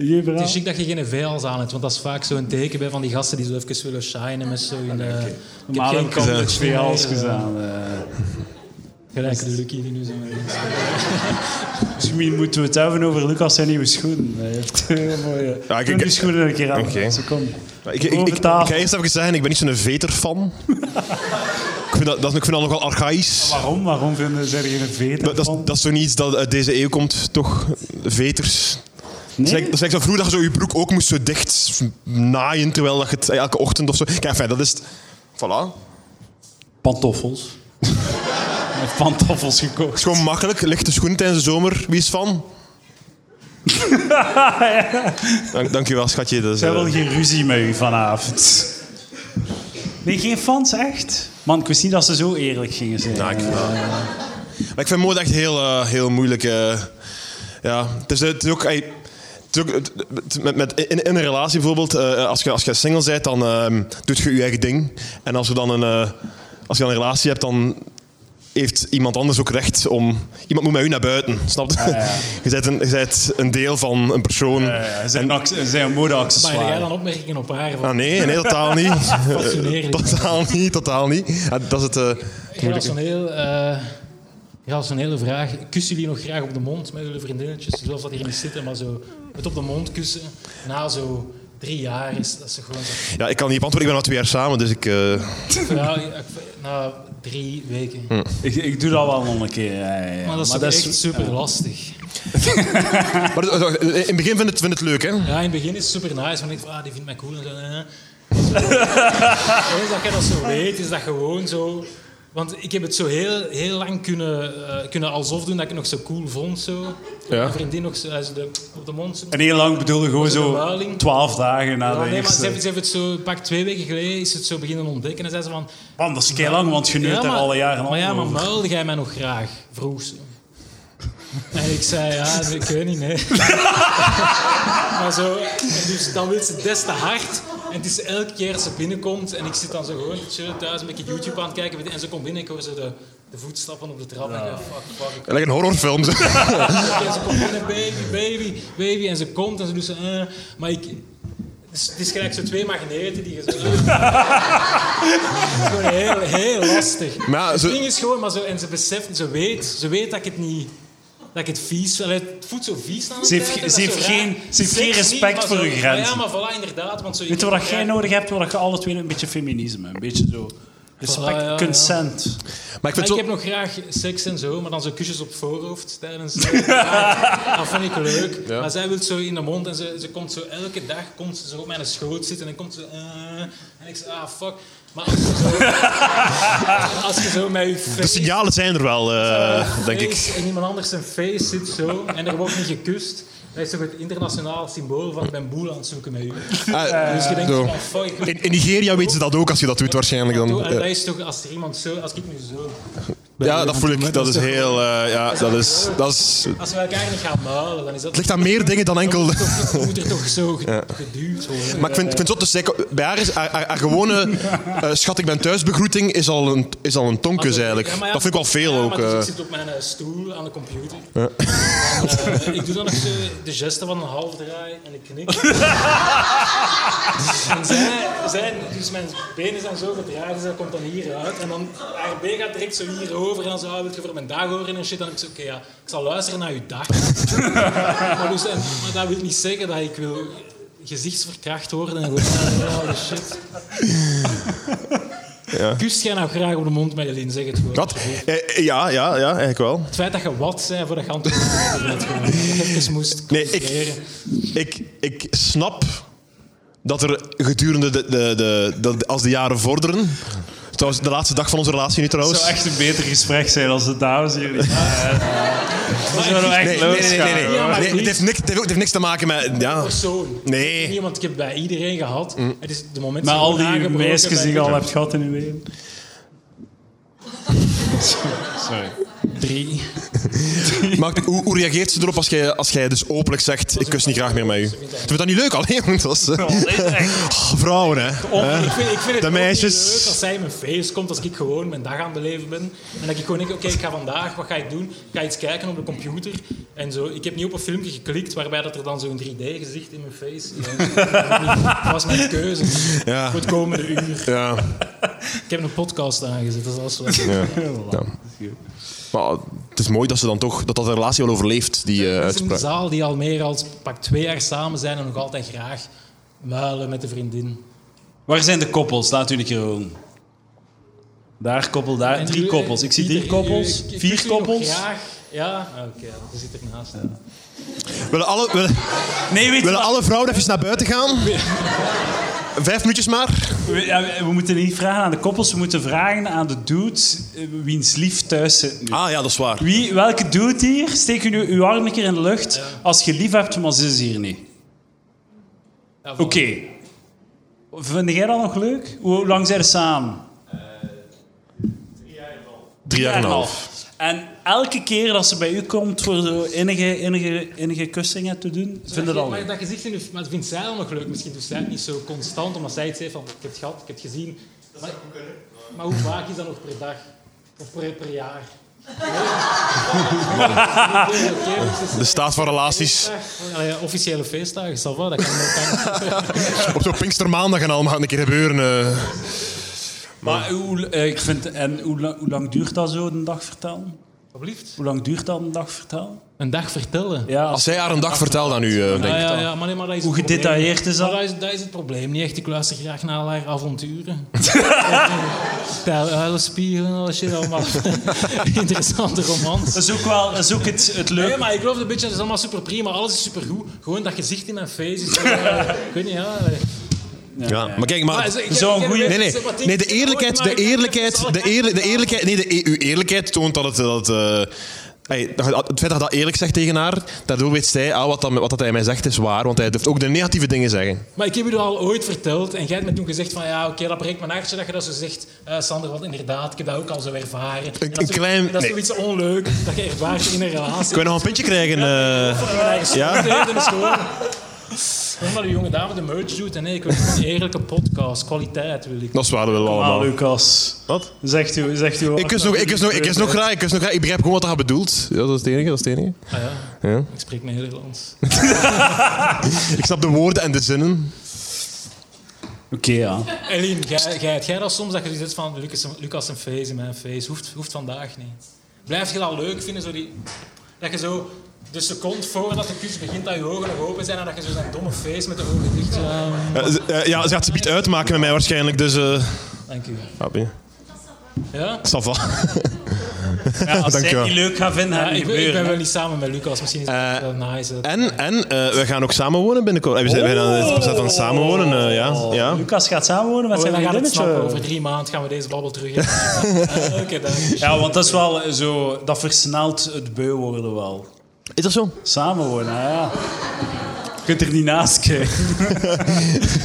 S1: Je verhaal?
S3: is chic dat je geen VL's aan hebt, want dat is vaak zo'n teken bij van die gasten die zo even willen shinen met zo'n... eh, ik heb
S1: Normaal heb
S3: geen
S1: ik al
S3: kans.
S1: met twee hals gedaan. eh.
S3: Gelijk de Lucky die nu zo...
S1: Misschien moeten we het hebben over Lucas zijn nieuwe schoenen. Hij heeft heel mooie...
S2: Ja, ik-
S1: Doe
S2: ik-
S1: die schoenen een keer aan.
S2: Oké.
S1: Ze komen.
S2: Ik, ik, ik,
S1: Boven
S2: ik
S1: tafel.
S2: ga eerst even zeggen, ik ben niet zo'n veter-fan. ik, vind dat, dat, ik vind dat nogal archaïs.
S1: Waarom? Waarom vinden zij er geen veter
S2: Dat, dat, is-
S1: van?
S2: dat is zo niet iets dat uit deze eeuw komt, toch? Veters. Dat
S1: Nee?
S2: is eigenlijk- dat is eigenlijk zo vroeger dat je zo je broek ook moest zo dicht naaien terwijl dat je het elke ochtend of zo. Kijk, fijn, dat is. het. Voilà.
S1: Pantoffels. Met pantoffels
S2: Het
S1: gekocht.
S2: is gewoon makkelijk. Lichte schoenen tijdens de zomer. Wie is van? Dank, dankjewel, schatje. Dat is,
S1: Zij
S2: eh,
S1: wil geen ruzie met u vanavond. Nee, geen fans, echt? Man, ik wist niet dat ze zo eerlijk gingen zijn.
S2: nou, ik, Maar ik vind mode echt heel, eh, heel moeilijk. eh, ja. het, is, het is ook, ey, het is ook- het- het- met, met, in, in een relatie bijvoorbeeld, eh, als, je, als je single bent, dan ehm, doet doe je je eigen ding. En als, je dan een, eh, als je dan een relatie hebt, dan heeft iemand anders ook recht om... Iemand moet met u naar buiten, snap je? Je, bent een, je bent een deel van een persoon.
S1: Eh, zijn, acc- zijn
S3: Maar heb jij
S1: modeaccessoire.
S3: dan opmerkingen op haar? Van,
S2: Ah, nee, nee, totaal niet. Eh,
S3: Fascinerend.
S2: totaal niet, totaal niet. Ah, dat is het... eh,
S3: Relationeel, eh relationele vraag. Kussen jullie nog graag op de mond met jullie vriendinnetjes? Zelfs dat hier niet zitten, maar zo het op de mond kussen na zo drie jaar is dat ze gewoon zo.
S2: ja, ik kan niet op antwoorden, ik ben al twee jaar samen, dus ik... eh,
S3: Ja, ik- na drie weken.
S1: Ik, ik doe dat wel nog een keer. ja, ja, ja.
S3: Maar dat is echt super lastig.
S2: Maar het- het- in het begin vind het, vind het leuk, hè?
S3: Ja, in het begin is het super nice, want ik van, ah, die vindt mij cool en zo. eh. Eens dat je dat zo weet, is dat gewoon zo. Want ik heb het zo heel, heel lang kunnen, eh, kunnen alsof doen dat ik het nog zo cool vond. Zo.
S2: Ja.
S3: Mijn vriendin nog zo, eh, zo de, op de mond. Zo.
S1: En heel lang bedoelde gewoon
S3: Was het een
S1: zo
S3: huiling?
S1: twaalf dagen na
S3: Ja,
S1: de
S3: nee, maar ze
S1: eerste.
S3: heeft, ze heeft het zo, pak twee weken geleden, is het zo beginnen ontdekken. En zei ze van,
S1: Man, dat is kei lang, want je neurt daar alle jaren al
S3: maar ja, maar
S1: over.
S3: muilde jij mij nog graag? Vroeg ze. En ik zei, ja, ik weet niet, nee. maar zo, en dus dan wil ze des te hard. En het is elke keer als ze binnenkomt en ik zit dan zo gewoon chill thuis een beetje YouTube aan het kijken. weet je, En ze komt binnen, ik hoor ze de, de voetstappen op de trap. En ik denk, fuck, fuck,
S2: Lekker een horrorfilm. zo.
S3: en ze komt binnen, baby, baby, baby. En ze komt en ze doet zo... eh, maar ik... Het is, het is gelijk zo twee magneten die je zo... Het is gewoon heel, heel lastig.
S2: Maar ja,
S3: het
S2: ze-
S3: ding is gewoon... Maar zo, en ze beseft, ze weet, ze weet dat ik het niet... Dat ik het vies... allee, Het voelt zo vies aan
S1: Ze heeft ge- ze heeft geen- ze heeft geen respect voor
S3: je
S1: uw grenzen.
S3: Ja, maar voilà, inderdaad. Want zo,
S1: Weet je wat jij nou nodig hebt? Wat je alle twee een beetje feminisme. Een beetje zo... Respect,
S3: ja, ja.
S1: consent.
S2: Maar ik
S3: Maar
S2: vind
S3: Ah, ik
S2: het
S3: heb
S2: wel...
S3: nog graag seks en zo, maar dan zo kusjes op voorhoofd tijdens. eh, Ja, dat vind ik leuk.
S2: Ja.
S3: Maar zij wil zo in de mond en ze, ze komt zo elke dag komt ze zo op mijn schoot zitten en dan komt ze. eh, en ik zeg, ah fuck. Maar als je zo, als je zo met je
S2: De
S3: face,
S2: signalen zijn er wel, eh, denk ik.
S3: face en iemand anders zijn face zit zo en er wordt niet gekust. Dat is toch het internationaal symbool van ik ben boel aan het zoeken met u.
S2: Ah,
S3: Dus je denkt
S2: zo.
S3: van fuck. ik wil-
S2: In, in Nigeria weten ze dat ook als je dat doet waarschijnlijk dan. eh,
S3: Doe- en dat
S2: Ja,
S3: is toch als er iemand zo, als ik nu zo.
S2: Ja, dat voel ik. Dat is heel... eh, ja, dat is... Dat is
S3: Als we elkaar niet gaan muilen, dan is dat.
S2: het ligt aan meer dingen dan enkel...
S3: Moet er toch- moet er toch zo ge- geduwd worden.
S2: Maar ik vind, ik vind het zo te sick. Bij haar is haar, haar- haar gewone eh, schat ik ben thuisbegroeting is al een, is al een tonkus eigenlijk.
S3: Ja, maar ja,
S2: Dat vind ik wel veel
S3: ja,
S2: ook.
S3: maar dus
S2: eh.
S3: ik zit op mijn eh, stoel aan de computer. En, eh, ik doe dan nog zo de gesten van een half draai en ik knik. en zij, zij, dus mijn benen zijn zo gedraaid, dus dat komt dan hieruit. En dan haar been gaat direct zo hierover en dan zo, ah, wil je voor mijn dag horen en shit. Dan heb ik zo, oké, ja, ik zal luisteren naar uw dag. maar, dus, en, maar dat wil niet zeggen dat ik wil gezichtsverkracht worden en gewoon, ah, holy shit. Kust jij nou graag op de mond met Elin, zeg het gewoon.
S2: Wat? Eh, ja, ja, ja, eigenlijk wel.
S3: Het feit dat je wat zei voordat je antwoord hebt gewoon even moest
S2: Nee, ik-
S3: concentreren.
S2: Ik, ik snap dat er gedurende de, de, de, dat als de jaren vorderen. Trouwens, de laatste dag van onze relatie nu
S1: Het
S2: trouwens.
S1: zou echt een beter gesprek zijn als de dames hier niet waren. Dat zou nou echt
S2: Nee, nee,
S1: leuk
S2: nee, nee. nee,
S1: zijn,
S2: nee.
S1: hoor.
S3: maar
S2: Nee,
S3: niet.
S2: het, heeft niks, het heeft ook- het heeft niks te maken met. Ja.
S3: Persoon.
S2: Nee. Mm.
S3: Niemand, ik heb het bij iedereen gehad. Het is de moment
S1: Met
S3: dat je
S1: al die
S3: aangebroken
S1: meisjes
S3: bent.
S1: die je al hebt gehad in je leven. Sorry.
S3: Drie.
S2: Maar hoe, hoe reageert ze erop als jij, als jij dus openlijk zegt: Ik kus niet graag meer met u? Ze vindt dat niet leuk alleen. want Dat is, eh, oh, vrouwen, hè?
S3: Om- ik, vind, ik vind het
S2: de
S3: ook
S2: meisjes.
S3: niet leuk als zij in mijn feest komt, als ik gewoon mijn dag aan het beleven ben. En dat ik gewoon denk, oké, ik ga vandaag, wat ga ik doen? Ik ga iets kijken op de computer. En zo. Ik heb niet op een filmpje geklikt waarbij dat er dan zo'n 3D-gezicht in mijn face is. Dat was mijn keuze
S2: Ja.
S3: voor het komende uur.
S2: Ja.
S3: Ik heb een podcast aangezet, dat is alles wat.
S2: Maar het is mooi dat ze dan toch. dat dat de relatie wel overleeft, die eh,
S3: Het is een
S2: uitspraak.
S3: zaal die al meer als pak twee jaar samen zijn en nog altijd graag muilen met de vriendin.
S1: Waar zijn de koppels? Laat u een keer horen. Daar koppel, daar.
S3: En
S1: Drie
S3: u-
S1: koppels. Ik zie
S3: Pieter,
S1: drie koppels.
S3: u- ik- ik kus
S1: Vier
S3: u nog
S1: koppels.
S3: Graag. Ja, Ah, oké, ja, die zit ernaast.
S2: Willen alle, willen,
S1: Nee, weet je
S2: willen
S1: wat?
S2: alle vrouwen even naar buiten gaan? Vijf minuutjes maar.
S1: We, ja, we moeten niet vragen aan de koppels. We moeten vragen aan de dudes eh, wiens lief thuis zit nu.
S2: Ah ja, dat is waar.
S1: Wie, welke dude hier? Steek u nu uw arm een keer in de lucht als je lief hebt, maar ze is hier niet.
S3: Ja, voilà.
S1: Oké. Vind jij dat nog leuk? Hoe lang zijn ze samen?
S2: Drie jaar en een half.
S1: En elke keer dat ze bij u komt voor zo enige, enige, enige kussingen te doen, vind je dat
S3: Maar
S1: leuk?
S3: dat gezicht in de- maar dat vindt zij dan nog leuk. Misschien doet zij het niet zo constant, omdat zij het zegt van ik heb het gehad, ik heb het gezien. Maar, maar hoe vaak is dat nog per dag? Of per, per jaar.
S2: De staat van relaties.
S3: Allee, officiële feestdagen, is dat wel? Dat kan dat kan-
S2: Op zo'n Pinkstermaandag en allemaal een keer gebeuren. eh.
S1: Maar hoe, eh, ik vind, en hoe, la- hoe lang duurt dat zo, een dag vertellen?
S3: Alsjeblieft.
S1: Hoe lang duurt dat, een dag vertellen?
S3: Een dag vertellen.
S1: Ja,
S2: Als
S1: als-
S2: zij haar een dag vertelt aan u, eh, denk
S3: Ah,
S2: ik.
S3: ja, ja, maar nee, maar dat is
S1: Hoe
S3: het probleem.
S1: gedetailleerd is dat?
S3: Maar dat, is, dat is het probleem niet echt. Ik luister graag naar al haar avonturen. Tijl uilenspieren en alles shit allemaal. Interessante romans.
S1: dat is ook wel dat is ook het, het leuke.
S3: Nee, maar ik geloof een beetje, het is allemaal super prima, alles is super goed. Gewoon dat gezicht in mijn face is. eh, ik weet niet, ja. eh.
S2: Ja. Maar kijk, maar...
S3: Maar ze- ik-
S1: Zo'n
S3: ik- ik-
S1: goeie-
S3: ik-
S2: Nee, nee.
S3: zeg maar,
S2: nee, de
S3: dingen-
S2: eerlijkheid, de
S3: maar-
S2: eerlijkheid, de, eerlijk, de eerlijkheid, nee, de, e- uw eerlijkheid toont dat het, dat, eh, hey, dat- het feit dat je dat eerlijk zegt tegen haar, daardoor weet zij, ah, wat, dat, wat dat hij mij zegt is waar, want hij durft ook de negatieve dingen zeggen.
S3: Maar ik heb je dat al ooit verteld en jij hebt me toen gezegd van ja, oké, dat breekt mijn hartje dat je dat zo zegt. Eh, Sander, want inderdaad, ik heb dat ook al zo ervaren. En dat
S2: een
S3: is-
S2: klein-
S3: Dat is
S2: nee.
S3: zoiets onleuk dat je ervaart in een relatie.
S2: Kun je nog een pintje krijgen? eh?
S3: Ja?
S2: Ja?
S3: Dat is gewoon... Gewoon maar de jonge dame de merch doet en nee, ik wil gewoon een eerlijke podcast, kwaliteit wil ik.
S2: dat is waar, dat willen we
S1: Maar
S2: allemaal.
S1: Lucas,
S2: Wat?
S1: zegt u, zegt u
S2: Ik kus nog, ik kus nog, ik kus nog graag, ik kus nog graag. Ik begrijp gewoon wat dat bedoelt. Ja, dat is het enige, dat is het enige.
S3: Ah ja,
S2: Ja.
S3: ik spreek Nederlands.
S2: Ik snap de woorden en de zinnen.
S1: Oké, ja.
S3: Elin, jij, jij, jij dat soms dat je zegt van Lucas, Lucas een face in mijn face, hoeft, hoeft vandaag niet. Blijf je dat leuk vinden, zo die, dat je zo de seconde voordat de kus begint dat je ogen nog open zijn en dat je zo zijn domme face met de ogen dicht... Ja,
S2: Eh, ze- eh, ja, ze gaat ze niet uitmaken met mij waarschijnlijk, dus... eh
S3: dank u.
S2: happy.
S3: Ja?
S2: Ça va.
S1: als
S2: Dank
S1: zij
S2: je
S1: het
S2: wel.
S1: niet leuk gaat vinden,
S3: Ja,
S1: gaat het
S3: ik,
S1: niet
S3: ben- ik ben
S1: gebeuren.
S3: wel niet samen met Lucas, misschien is dat
S2: Eh,
S3: wel nice. dat-
S2: En, en eh, we gaan ook samenwonen binnenkort. Eh, We zijn we zijn aan het proces van het samenwonen, eh, ja. ja.
S1: Lucas gaat samenwonen met
S3: Oh,
S1: zijn
S3: dan Oh. gaat het snappen.
S1: vriendinnetje.
S3: Over drie maanden gaan we deze babbel terug hebben. Eh, Oké, dank.
S1: Ja, want dat is wel zo, dat versnelt het beu worden wel.
S2: Is dat zo?
S1: Samenwonen, ah, ja. Je kunt er niet naast kijken.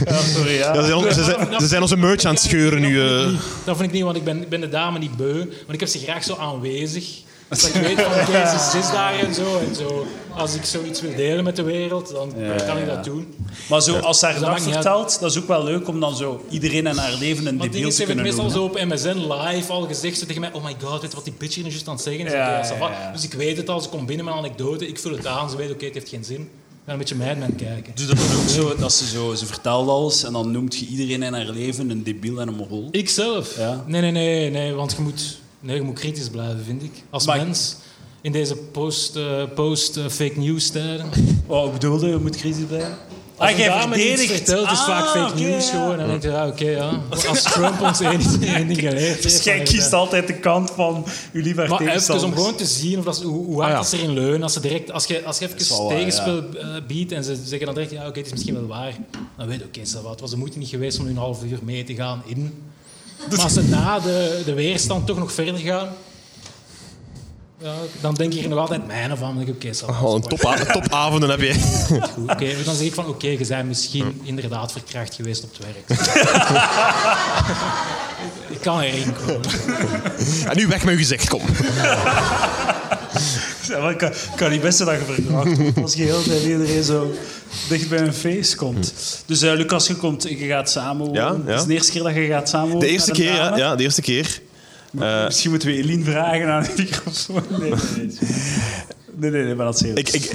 S1: ja, sorry, ja.
S2: Ja, ze, zijn, ons- ze, zijn, ze zijn onze merch aan het scheuren nu. eh.
S3: Dat vind ik niet, want ik ben, ik ben de dame niet beu. Want ik heb ze graag zo aanwezig. Dat ik weet van deze zes dagen en zo, en zo. Als ik zoiets wil delen met de wereld, dan kan ik dat doen.
S1: Maar zo, als ze haar
S3: dat
S1: dag
S3: maakt niet uit.
S1: vertelt, dat is ook wel leuk om dan zo iedereen en haar leven een
S3: Want dingen
S1: debiel te
S3: heeft het
S1: kunnen
S3: meestal
S1: noemen.
S3: zo op MSN live al gezegd zo tegen mij. Oh my god, weet je wat die bitch hier nu juist aan het zeggen is?
S1: Ja,
S3: Oké, ça va.
S1: ja, ja.
S3: Dus ik weet het al, ze komt binnen met anekdote. Ik vul het aan, ze weet oké, het heeft geen zin. Ik ben een beetje mij aan het kijken.
S1: Doe dat dan ook zo, dat ze zo, ze vertelt alles en dan noemt je iedereen in haar leven een debiel en een morol.
S3: Ikzelf?
S1: Ja.
S3: Nee, nee, nee, nee, want je moet, nee, je moet kritisch blijven, vind ik. Als
S1: Maar-
S3: mens. In deze post, eh, post eh, fake news tijden.
S1: Oh, ik bedoelde, je moet crisis blijven.
S3: Als
S1: Ah,
S3: een
S1: jij
S3: dame niets
S1: verdedigt.
S3: vertelt, is
S1: Ah,
S3: vaak fake
S1: oké,
S3: news
S1: ja.
S3: gewoon. En dan denk je, ja, oké, ja. Als Trump ons één één ding geleerd
S1: Dus
S3: heeft...
S1: jij
S3: dan-
S1: kiest altijd de kant van jullie liever
S3: Maar even om
S1: tegenstanders.
S3: gewoon te zien of dat, ze- hoe, hoe hard
S2: Ah, ja.
S3: dat ze erin leunen. Als, ze direct, als je, als je even
S1: is wel waar,
S3: tegenspel eh, biedt en ze zeggen dan direct, ja, oké, het is misschien wel waar. Dan weet je, oké, ça va, het was de moeite niet geweest om nu een half uur mee te gaan in. Maar als ze na de, de weerstand toch nog verder gaan, ja, dan denk ik er nog altijd mijn of aan. Dan denk ik, oké, ça va,
S2: Oh, een topa- topavonden heb je.
S3: goed. Oké, dan zeg ik van, oké, je bent misschien inderdaad verkracht geweest op het werk. ik kan erin komen.
S2: En nu weg met uw gezicht, kom.
S1: Ja, maar ik kan, ik kan niet best dat je verkracht als je heel de tijd iedereen zo dicht bij een feest komt. Dus eh, Lucas, je, komt, je gaat samen wonen.
S2: Hm. Ja, ja.
S1: Het is de eerste keer dat je gaat samen wonen
S2: De eerste
S1: met een
S2: keer, ja,
S1: dame.
S2: ja, de eerste keer. Eh,
S1: Misschien moeten we Eline vragen aan de microfoon. Nee, nee, nee. Nee, nee, nee, maar dat is heel...
S2: Ik, ik,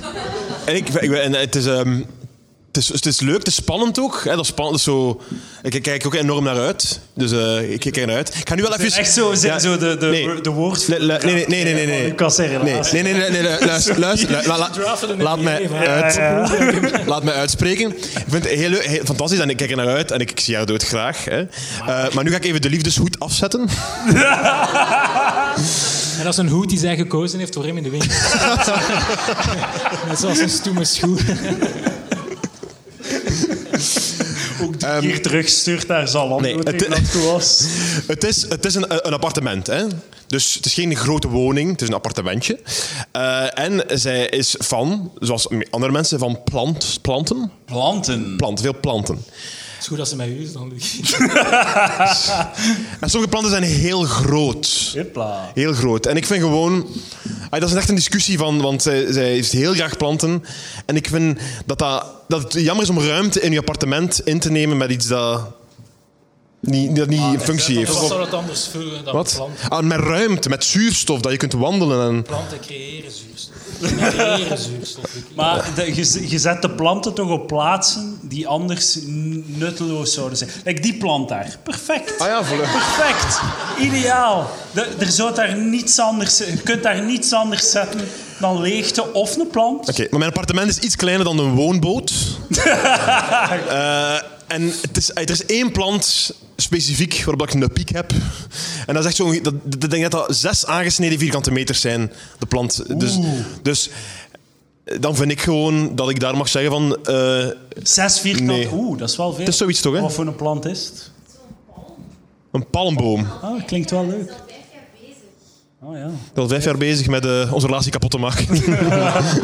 S2: en ik, ik ben- en het, is, ehm, het, is, het is leuk, het is spannend ook. Hè, dat is spannend, dat is zo, ik ik kijk ook enorm naar uit. Dus eh, ik kijk er naar uit. Ik ga nu wel
S1: Het is
S2: even...
S1: echt zo, we zijn
S2: Ja,
S1: zo de, de,
S2: nee.
S1: de woord...
S2: Le- le- nee, nee, nee, nee, nee, nee.
S1: Van Lucas en
S2: Nee,
S1: relatie.
S2: nee, nee, nee, nee, lu- luister, luister, lu- la- la-
S3: Drafted in de
S2: laat, mij
S3: NBA,
S2: uit,
S1: Ja, ja.
S2: laat mij uitspreken. Ik vind het heel, leuk, heel fantastisch en ik kijk er naar uit en ik, ik zie haar dood graag. Hè. Eh, maar nu ga ik even de liefdeshoed afzetten.
S3: En dat is een hoed die zij gekozen heeft voor hem in de winkel. Net zoals een stoeme schoen.
S1: Ook drie keer terugstuurt naar Zalando
S2: Ehm, nee,
S1: nee,
S2: het-
S1: tegen dat toe was.
S2: Het is, het is een, een appartement. Hè? Dus het is geen grote woning, het is een appartementje. Eh, en zij is van, zoals andere mensen, van plant, planten.
S1: Planten.
S2: Planten, veel planten.
S3: Het is goed dat ze mij is dan.
S2: En sommige planten zijn heel groot.
S1: Hopla.
S2: Heel groot. En ik vind gewoon... ah, dat is echt een discussie van, want zij, zij heeft heel graag planten. En ik vind dat, dat, dat het jammer is om ruimte in je appartement in te nemen met iets dat... niet, dat niet een functie
S3: Dus wat
S2: heeft.
S3: zou dat anders vullen dan
S2: Wat?
S3: planten?
S2: Ah, met ruimte, met zuurstof, dat je kunt wandelen. En...
S3: Planten creëren zuurstof. Creëren zuurstof.
S1: Maar de- je, z- je zet de planten toch op plaatsen die anders n- nutteloos zouden zijn. Kijk, die plant daar. Perfect.
S2: Ah ja, voilà.
S1: Perfect. Ideaal. De- er zou daar niets anders... Je kunt daar niets anders zetten dan leegte of een plant.
S2: Oké, maar mijn appartement is iets kleiner dan een woonboot. Eh, en het is, er is één plant specifiek waarop ik een piek heb. En dat is echt zo'n... ge- Dat, dat, ik denk dat dat zes aangesneden vierkante meters zijn, de plant. Dus, dus eh, dan vind ik gewoon dat ik daar mag zeggen van... eh,
S1: Zes vierkant.
S2: Nee. Dus
S1: Oeh, dat is wel veel.
S2: het is zoiets toch, hè?
S1: Wat voor een plant is het?
S2: Een palmboom.
S1: Ah, dat klinkt wel leuk.
S5: al vijf jaar bezig.
S1: Oh, ja.
S2: Ik ben al vijf jaar bezig met eh, onze relatie kapot te maken.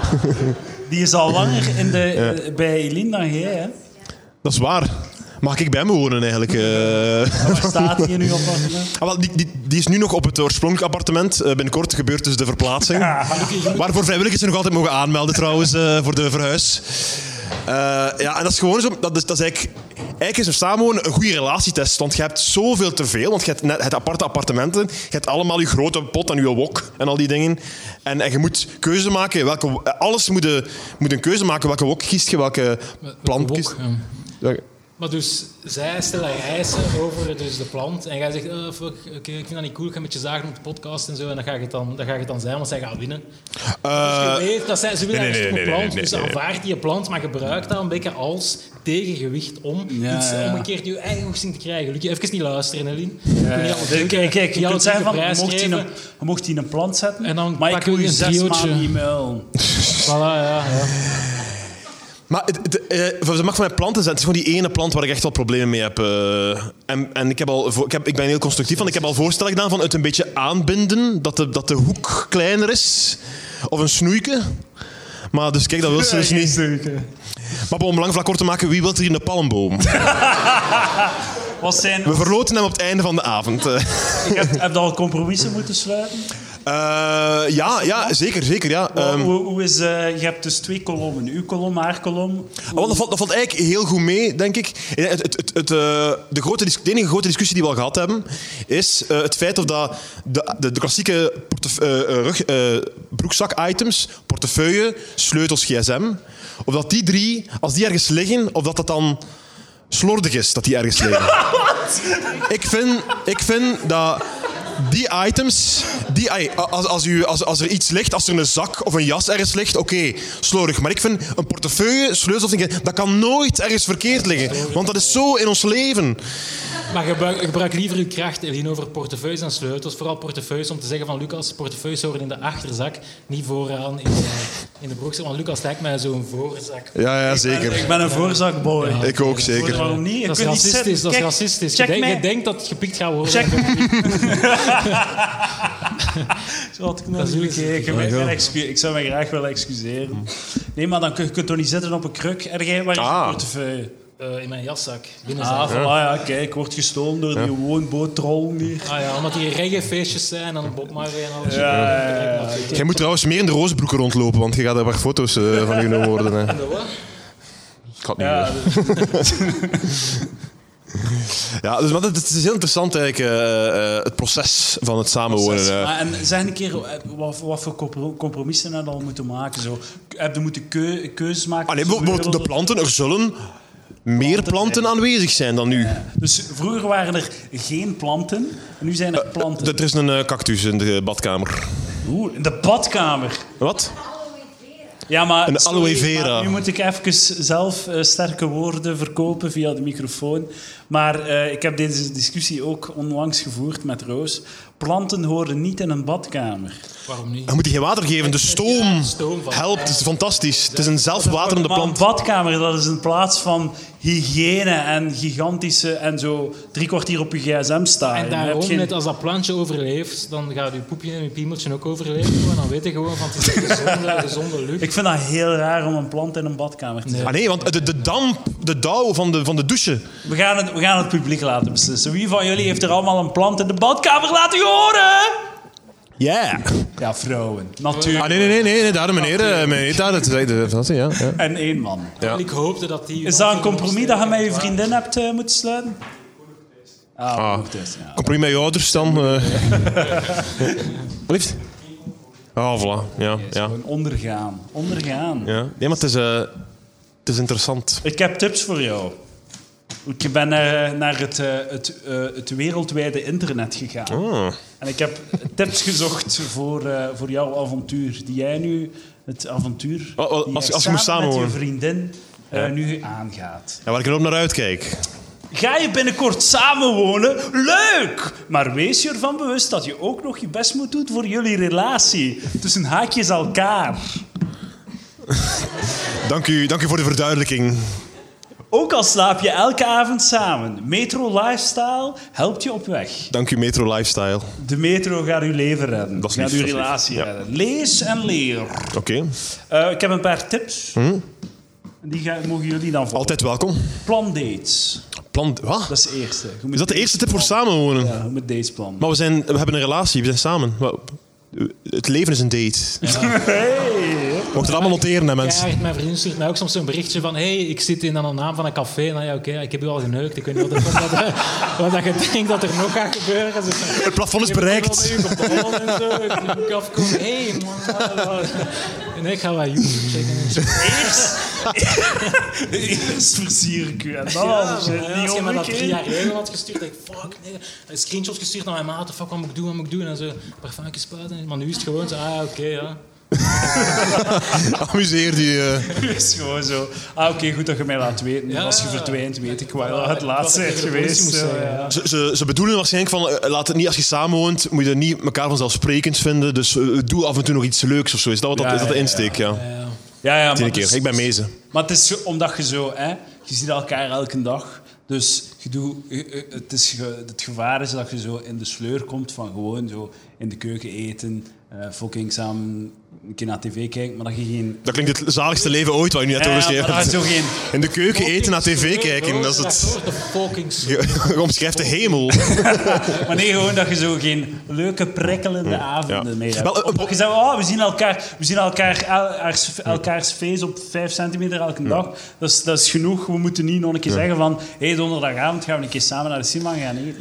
S1: Die is al langer in de, eh, bij Eline dan jij, hè?
S2: dat is waar. Mag ik bij hem wonen eigenlijk? eh?
S1: Waar staat die nu op? appartement?
S2: Ah, wel, die, die, die is nu nog op het oorspronkelijk appartement. Eh, binnenkort gebeurt dus de verplaatsing. Waarvoor vrijwilligers zich nog altijd mogen aanmelden trouwens eh, voor de verhuis. Eh, ja, en dat is gewoon zo. Dat is, dat is eigenlijk, eigenlijk is een samenwonen een goede relatietest. Want je hebt zoveel te veel. Want je hebt net, het aparte appartementen. Je hebt allemaal je grote pot en je wok en al die dingen. En, en je moet keuze maken. Welke, eh, alles moet, je- moet een keuze maken. Welke wok kiest je? Welke plant kiest
S3: Ja.
S2: je?
S3: Maar dus, zij stellen eisen over dus de plant. En jij zegt, eh, fuck, oké, ik vind dat niet cool, ik ga met je zagen op de podcast en zo. En dan ga je het dan, dan, ga je het dan zijn, want zij gaan winnen.
S2: Eh,
S3: Dus je weet, dat zij, ze willen
S2: nee,
S3: nee,
S2: nee,
S3: een
S2: nee,
S3: plant,
S2: nee, nee,
S3: dus
S2: nee, nee.
S3: aanvaard die plant, maar gebruik dat een beetje als tegengewicht om
S1: Ja,
S3: iets
S1: ja.
S3: om een keer je eigen hoogste te krijgen. Luc, even niet luisteren, Elin.
S1: Kijk, kijk, je kunt zeggen van, je mocht die een, je mocht die een plant zetten,
S3: En dan
S1: maar ik
S3: pakken
S1: wil
S3: we
S1: je
S3: een
S1: zes
S3: triootje.
S1: maanden niet muilen.
S3: Voilà, ja, ja.
S2: Maar het, het, eh, ze mag van mijn planten zijn. Het is gewoon die ene plant waar ik echt wel problemen mee heb. eh. en en ik, heb al, voor- ik, heb, ik ben heel constructief, want ik heb al voorstellen gedaan van het een beetje aanbinden. Dat de, dat de hoek kleiner is. Of een snoeike. Maar dus kijk, dat wil ze dus niet. Maar om een lang vlak kort te maken, wie wil er hier een palmboom?
S1: Wat zijn...
S2: We verloten hem op het einde van de avond. eh.
S1: Ik heb, heb je al compromissen moeten sluiten?
S2: Eh, ja, ja, zeker, zeker. Ja. Ehm,
S1: hoe, hoe is, eh, je hebt dus twee kolommen. Uw kolom, haar kolom.
S2: Ah, wel, dat, valt, dat valt eigenlijk heel goed mee, denk ik. Eh, Het, het, het, het, eh, de, grote dis- de enige grote discussie die we al gehad hebben, is eh, het feit of dat de, de, de klassieke portef- eh, eh, rug- eh, broekzak-items, portefeuille, sleutels, gsm, of dat die drie, als die ergens liggen, of dat dat dan slordig is dat die ergens liggen. ik, vind, ik vind dat die items, die, ai, als, als, u, als, als er iets ligt, als er een zak of een jas ergens ligt, oké, slordig. Maar ik vind een portefeuille, sleutels, of dingen, dat kan nooit ergens verkeerd liggen. Want dat is zo in ons leven.
S3: Maar gebruik, gebruik liever uw kracht, Eline, over portefeuilles en sleutels. Vooral portefeuilles, om te zeggen van Lucas, portefeuilles horen in de achterzak, niet vooraan in de, in de broekzak. Want Lucas lijkt mij zo'n voorzak.
S2: Ja, ja,
S1: Ik
S2: zeker.
S1: ben een voorzakboy.
S2: Ik ook, zeker.
S1: Waarom niet? Je
S3: Dat is
S1: kunt niet
S3: racistisch,
S1: zitten.
S3: dat is
S1: Kijk,
S3: racistisch. Je,
S1: Check
S3: denkt-
S1: mij.
S3: je denkt dat het gepikt gaat worden.
S1: Check Zo had ik nog
S3: Dat is
S1: niet
S3: goed.
S1: gekeken. Ik, ben excu- ik zou mij graag willen excuseren. Nee, maar dan kun je kunt toch niet zitten op een kruk? Ergens waar is
S2: Ah.
S1: je portefeuille?
S3: Eh, in mijn jaszak, binnenzak.
S1: Ah, voilà, ja, kijk, wordt gestolen door die woonboottrollen hier.
S3: Ah ja, omdat hier regenfeestjes zijn en Bob Marley en alles.
S1: Ja, ja, ja.
S2: Jij moet trouwens meer in de rozenbroeken rondlopen, want je gaat er wat foto's eh, van genomen worden. Hè. Ik had niet meer.
S1: Ja, dus-
S2: Ja, dus, maar het is heel interessant eigenlijk, eh, eh, het proces van het samenwonen. eh.
S1: maar en zeg een keer, eh, wat, wat voor compro- compromissen heb je al moeten maken? Zo? Heb je moeten keu- keuzes maken?
S2: Ah, nee,
S1: tussen
S2: bijvoorbeeld de
S1: werelden?
S2: planten, er zullen meer planten aanwezig zijn dan nu.
S1: Dus vroeger waren er geen planten, en nu
S2: eh,
S1: zijn er planten.
S2: Er is een eh, cactus in de badkamer.
S1: Oeh, in de badkamer.
S2: Wat?
S5: Aloe vera.
S1: Ja, maar,
S2: Een aloe vera.
S1: maar nu moet ik even zelf eh, sterke woorden verkopen via de microfoon. Maar eh, ik heb deze discussie ook onlangs gevoerd met Roos. Planten horen niet in een badkamer.
S3: Waarom niet?
S2: Dan moet je geen water geven. De stoom
S3: stoom van-
S2: helpt. Het is fantastisch. Het is een zelfwaterende
S1: Maar
S2: plant.
S1: een badkamer, dat is een plaats van hygiëne en gigantische... En zo drie kwartier op je gsm staan.
S3: En
S1: Je hebt
S3: daarom,
S1: geen-
S3: net als dat plantje overleeft, dan gaat uw poepje en uw piemeltje ook overleven. En dan weet je gewoon van, het is een gezonde, gezonde lucht.
S1: Ik vind dat heel raar om een plant in een badkamer te zetten.
S2: Ah nee, want de, de damp, de dauw van de, van de douche.
S1: We gaan, het, we gaan het publiek laten beslissen. Wie van jullie heeft er allemaal een plant in de badkamer laten horen?
S2: Ja.
S1: Ja, vrouwen. Natuurlijk.
S2: Ah nee, nee, nee, nee, nee daar meneer. eh, meneer daar, dat is echt- dat is- ja, ja.
S1: En één man.
S3: Ik hoopte dat die...
S1: Is dat een compromis dat je met je vriendin hebt eh, moeten sluiten? Ah,
S2: Ah.
S1: goed, dus, ja.
S2: Compromis met je ouders dan. eh. Liefst? Ah, voilà. Ja, ja,
S1: Gewoon ondergaan. Ondergaan.
S2: ja. Nee, maar het is, eh, het is interessant.
S1: Ik heb tips voor jou. Ik ben naar, naar het, eh, het, eh, het wereldwijde internet gegaan.
S2: Ah.
S1: En ik heb tips gezocht voor, eh, voor jouw avontuur. Die jij nu, het avontuur,
S2: Oh, oh,
S1: die
S2: als-
S1: jij
S2: als we moest
S1: samen met je
S2: samenwonen.
S1: vriendin eh, nu aangaat.
S2: Ja, waar ik er ook naar uitkijk.
S1: Ga je binnenkort samenwonen? Leuk! Maar wees je ervan bewust dat je ook nog je best moet doen voor jullie relatie. Tussen haakjes elkaar.
S2: Dank u, dank u voor de verduidelijking.
S1: Ook al slaap je elke avond samen. Metro Lifestyle helpt je op weg.
S2: Dank u, Metro Lifestyle.
S1: De metro gaat uw leven redden.
S2: Dat is
S1: gaat
S2: lief,
S1: uw
S2: dat is lief.
S1: relatie
S2: Ja.
S1: redden. Lees en leer.
S2: Oké.
S1: Eh, ik heb een paar tips.
S2: Hm?
S1: En Die ga- mogen jullie dan volgen.
S2: Altijd welkom.
S1: Plan dates.
S2: Plan... Wat?
S1: Dat is de eerste. Je moet
S2: Is dat de eerste tip voor samenwonen?
S1: Ja, je moet dates plannen.
S2: Maar we, zijn, we hebben een relatie, we zijn samen. Wel, Het leven is een date.
S1: Hey.
S2: We moeten het allemaal noteren, hè, mensen.
S3: Ja, mijn vriendin stuurt mij ook soms zo'n berichtje van... hey, ik zit in aan de naam van een café. Nou ja, oké, ik heb u al geneukt. Ik weet niet wat, er, wat, er- wat dat je denkt dat er nog gaat gebeuren. Zo van,
S2: Het plafond is
S3: ik ben
S2: bereikt.
S3: wel bij u gevallen en zo. Ik moet afkomen. Hé, hey, man. En ik ga wel YouTube checken. en zo.
S1: Eerst, eerst versier ik u en dan
S3: Ja,
S1: alles.
S3: maar
S1: hè.
S3: ja,
S1: Niet
S3: als je me dat drie jaar
S1: omgekeerd.
S3: geleden had gestuurd, dacht ik, fuck, nee. Een screenshot gestuurd naar mijn maat, fuck, wat moet ik doen, wat moet ik doen? En zo, parfumtjes spuiten. Maar nu is het gewoon zo, ah, oké, ja.
S2: Amuseer die. eh.
S1: is gewoon zo. Ah, oké, goed dat je mij laat weten.
S3: Ja.
S1: Als je verdwijnt, weet ik wel.
S3: Ja,
S1: het laatste
S3: wat
S1: bent
S3: ik tegen de politie
S1: geweest.
S3: moest
S1: eh,
S3: zeggen,
S1: ja.
S2: Ze, ze, ze bedoelen waarschijnlijk van, eh, laat het niet als je samenwoont, moet je niet elkaar vanzelfsprekend vinden. Dus eh, doe af en toe nog iets leuks of zo. Is dat, wat dat,
S1: Ja,
S2: is dat de
S1: ja, ja,
S2: insteek? Ja.
S3: Ja.
S1: Ja, ja,
S2: Tiende
S1: maar dus het
S2: keer.
S1: is-
S2: Ik ben mezen.
S1: Maar het is zo- omdat je zo, hè, je ziet elkaar elke dag. Dus je doet, je- je- het, is, ge- het gevaar is dat je zo in de sleur komt van gewoon zo in de keuken eten, eh fucking samen een keer naar tv kijken, maar dat je geen.
S2: Dat klinkt het zaligste leven ooit wat je nu net
S1: Ja, maar
S2: overschreven
S1: dat je zo
S2: hebt.
S1: geen.
S2: In de keuken eten, naar tv kijken, dat is het.
S3: De fucking s-
S2: Je omschrijft de hemel.
S1: Maar nee, gewoon dat je zo geen leuke, prikkelende avonden
S2: ja.
S1: meer hebt.
S2: Wel, eh,
S1: Of dat je zegt, oh, we zien elkaar, we zien elkaar, el- elkaars- elkaars face op vijf centimeter elke dag. Dat is, dat is genoeg. We moeten niet nog een keer zeggen van, hé, hey, donderdagavond gaan we een keer samen naar de cinema gaan eten.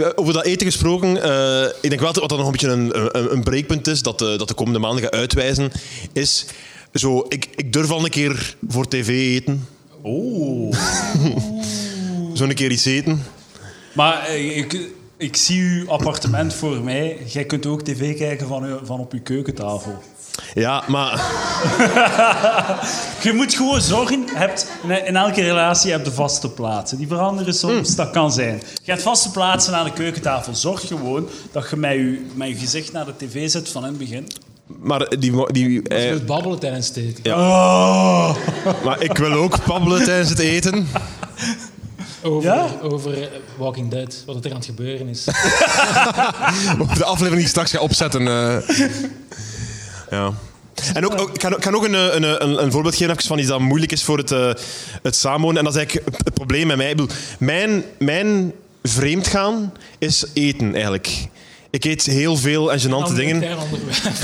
S2: Ja. Over dat eten gesproken, eh, ik denk wel dat wat dat nog een beetje een, een, een breekpunt is, dat de, dat de komende maanden gaat uitwijzen, is zo, ik, ik durf al een keer voor tv eten. Oh. Zo'n keer iets eten.
S1: Maar eh, ik, ik zie uw appartement voor mij. Jij kunt ook tv kijken van, uw- van op uw keukentafel.
S2: Ja, maar
S1: Je moet gewoon zorgen, je hebt, in in elke relatie heb je vaste plaatsen. Die veranderen soms,
S2: Hmm.
S1: dat kan zijn. Je hebt vaste plaatsen aan de keukentafel. Zorg gewoon dat je met je, met je gezicht naar de tv zit van in het begin.
S2: maar, die, mo- die, eh,
S3: Je moet babbelen tijdens het eten.
S1: Oh.
S2: maar ik wil ook babbelen tijdens het eten.
S3: Over,
S1: Ja?
S3: over eh, Walking Dead, wat er aan het gebeuren is.
S2: Over de aflevering die ik straks ga opzetten. eh. Ja. En ook, ook, ik ga, ik ga nog een, eh, een, eh, een, een voorbeeld geven even van iets dat moeilijk is voor het, eh, het samenwonen. En dat is eigenlijk het- het probleem met mij. Ik bedoel, mijn, mijn vreemdgaan is eten, eigenlijk. Ik eet heel veel en gênante dingen.
S3: Ander onderwerp.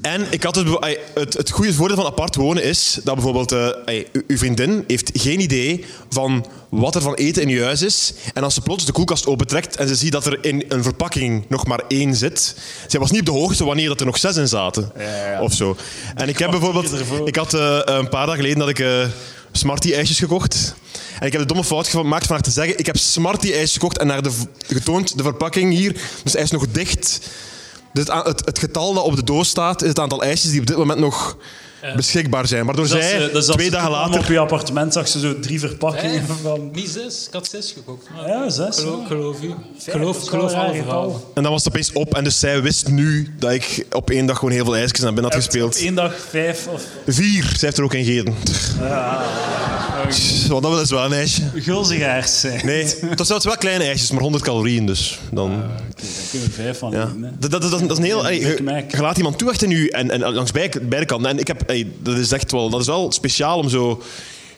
S2: En ik had het, be- ai, het, het goede voordeel van apart wonen is dat bijvoorbeeld eh, ai, u- uw vriendin heeft geen idee van wat er van eten in uw huis is. En als ze plots de koelkast opentrekt en ze ziet dat er in een verpakking nog maar één zit, zij was niet op de hoogte wanneer dat er nog zes in zaten. Of zo. En ik heb bijvoorbeeld, ik had eh, een paar dagen geleden dat ik eh, Smarty ijsjes gekocht. En ik heb de domme fout gemaakt van haar te zeggen, ik heb Smarty ijsjes gekocht en naar de v- getoond de verpakking hier, dus hij is nog dicht. Dus het, a- het, het getal dat op de doos staat, is het aantal ijsjes die op dit moment nog beschikbaar zijn. Waardoor
S1: Dus als
S2: zij
S1: ze- dus als
S2: twee
S1: ze
S2: dagen
S1: kwam
S2: later...
S1: Op je appartement zag ze zo drie verpakkingen
S3: Vijf.
S1: van.
S3: Niet zes, ik had zes gekocht. maar-
S1: Ja, zes,
S3: Geloof,
S1: ja.
S3: geloof u.
S1: dat
S3: Geloof,
S1: is wel
S3: geloof
S1: een raar
S3: alle verhalen.
S1: getal.
S2: En dan was het opeens op. En dus zij wist nu dat ik op één dag gewoon heel veel ijsjes naar binnen had
S1: Op
S2: gespeeld.
S1: één dag vijf. Of,
S2: Vier. Zij heeft er ook een gegeten. Tch, Want dat is wel een ijsje.
S1: gulzigaars zijn.
S2: Nee, het was wel kleine ijsjes, maar 100 calorieën dus. Dan,
S1: Oké, daar kunnen we vijf van
S2: ja.
S1: doen, Ehm, hè.
S2: dat, dat, dat, dat is een heel... ey,
S1: Big
S2: Je
S1: Mac.
S2: je laat iemand toe echt in u en, en langs beide, beide kanten. En ik heb... ey, dat, is echt wel, dat is wel speciaal om zo...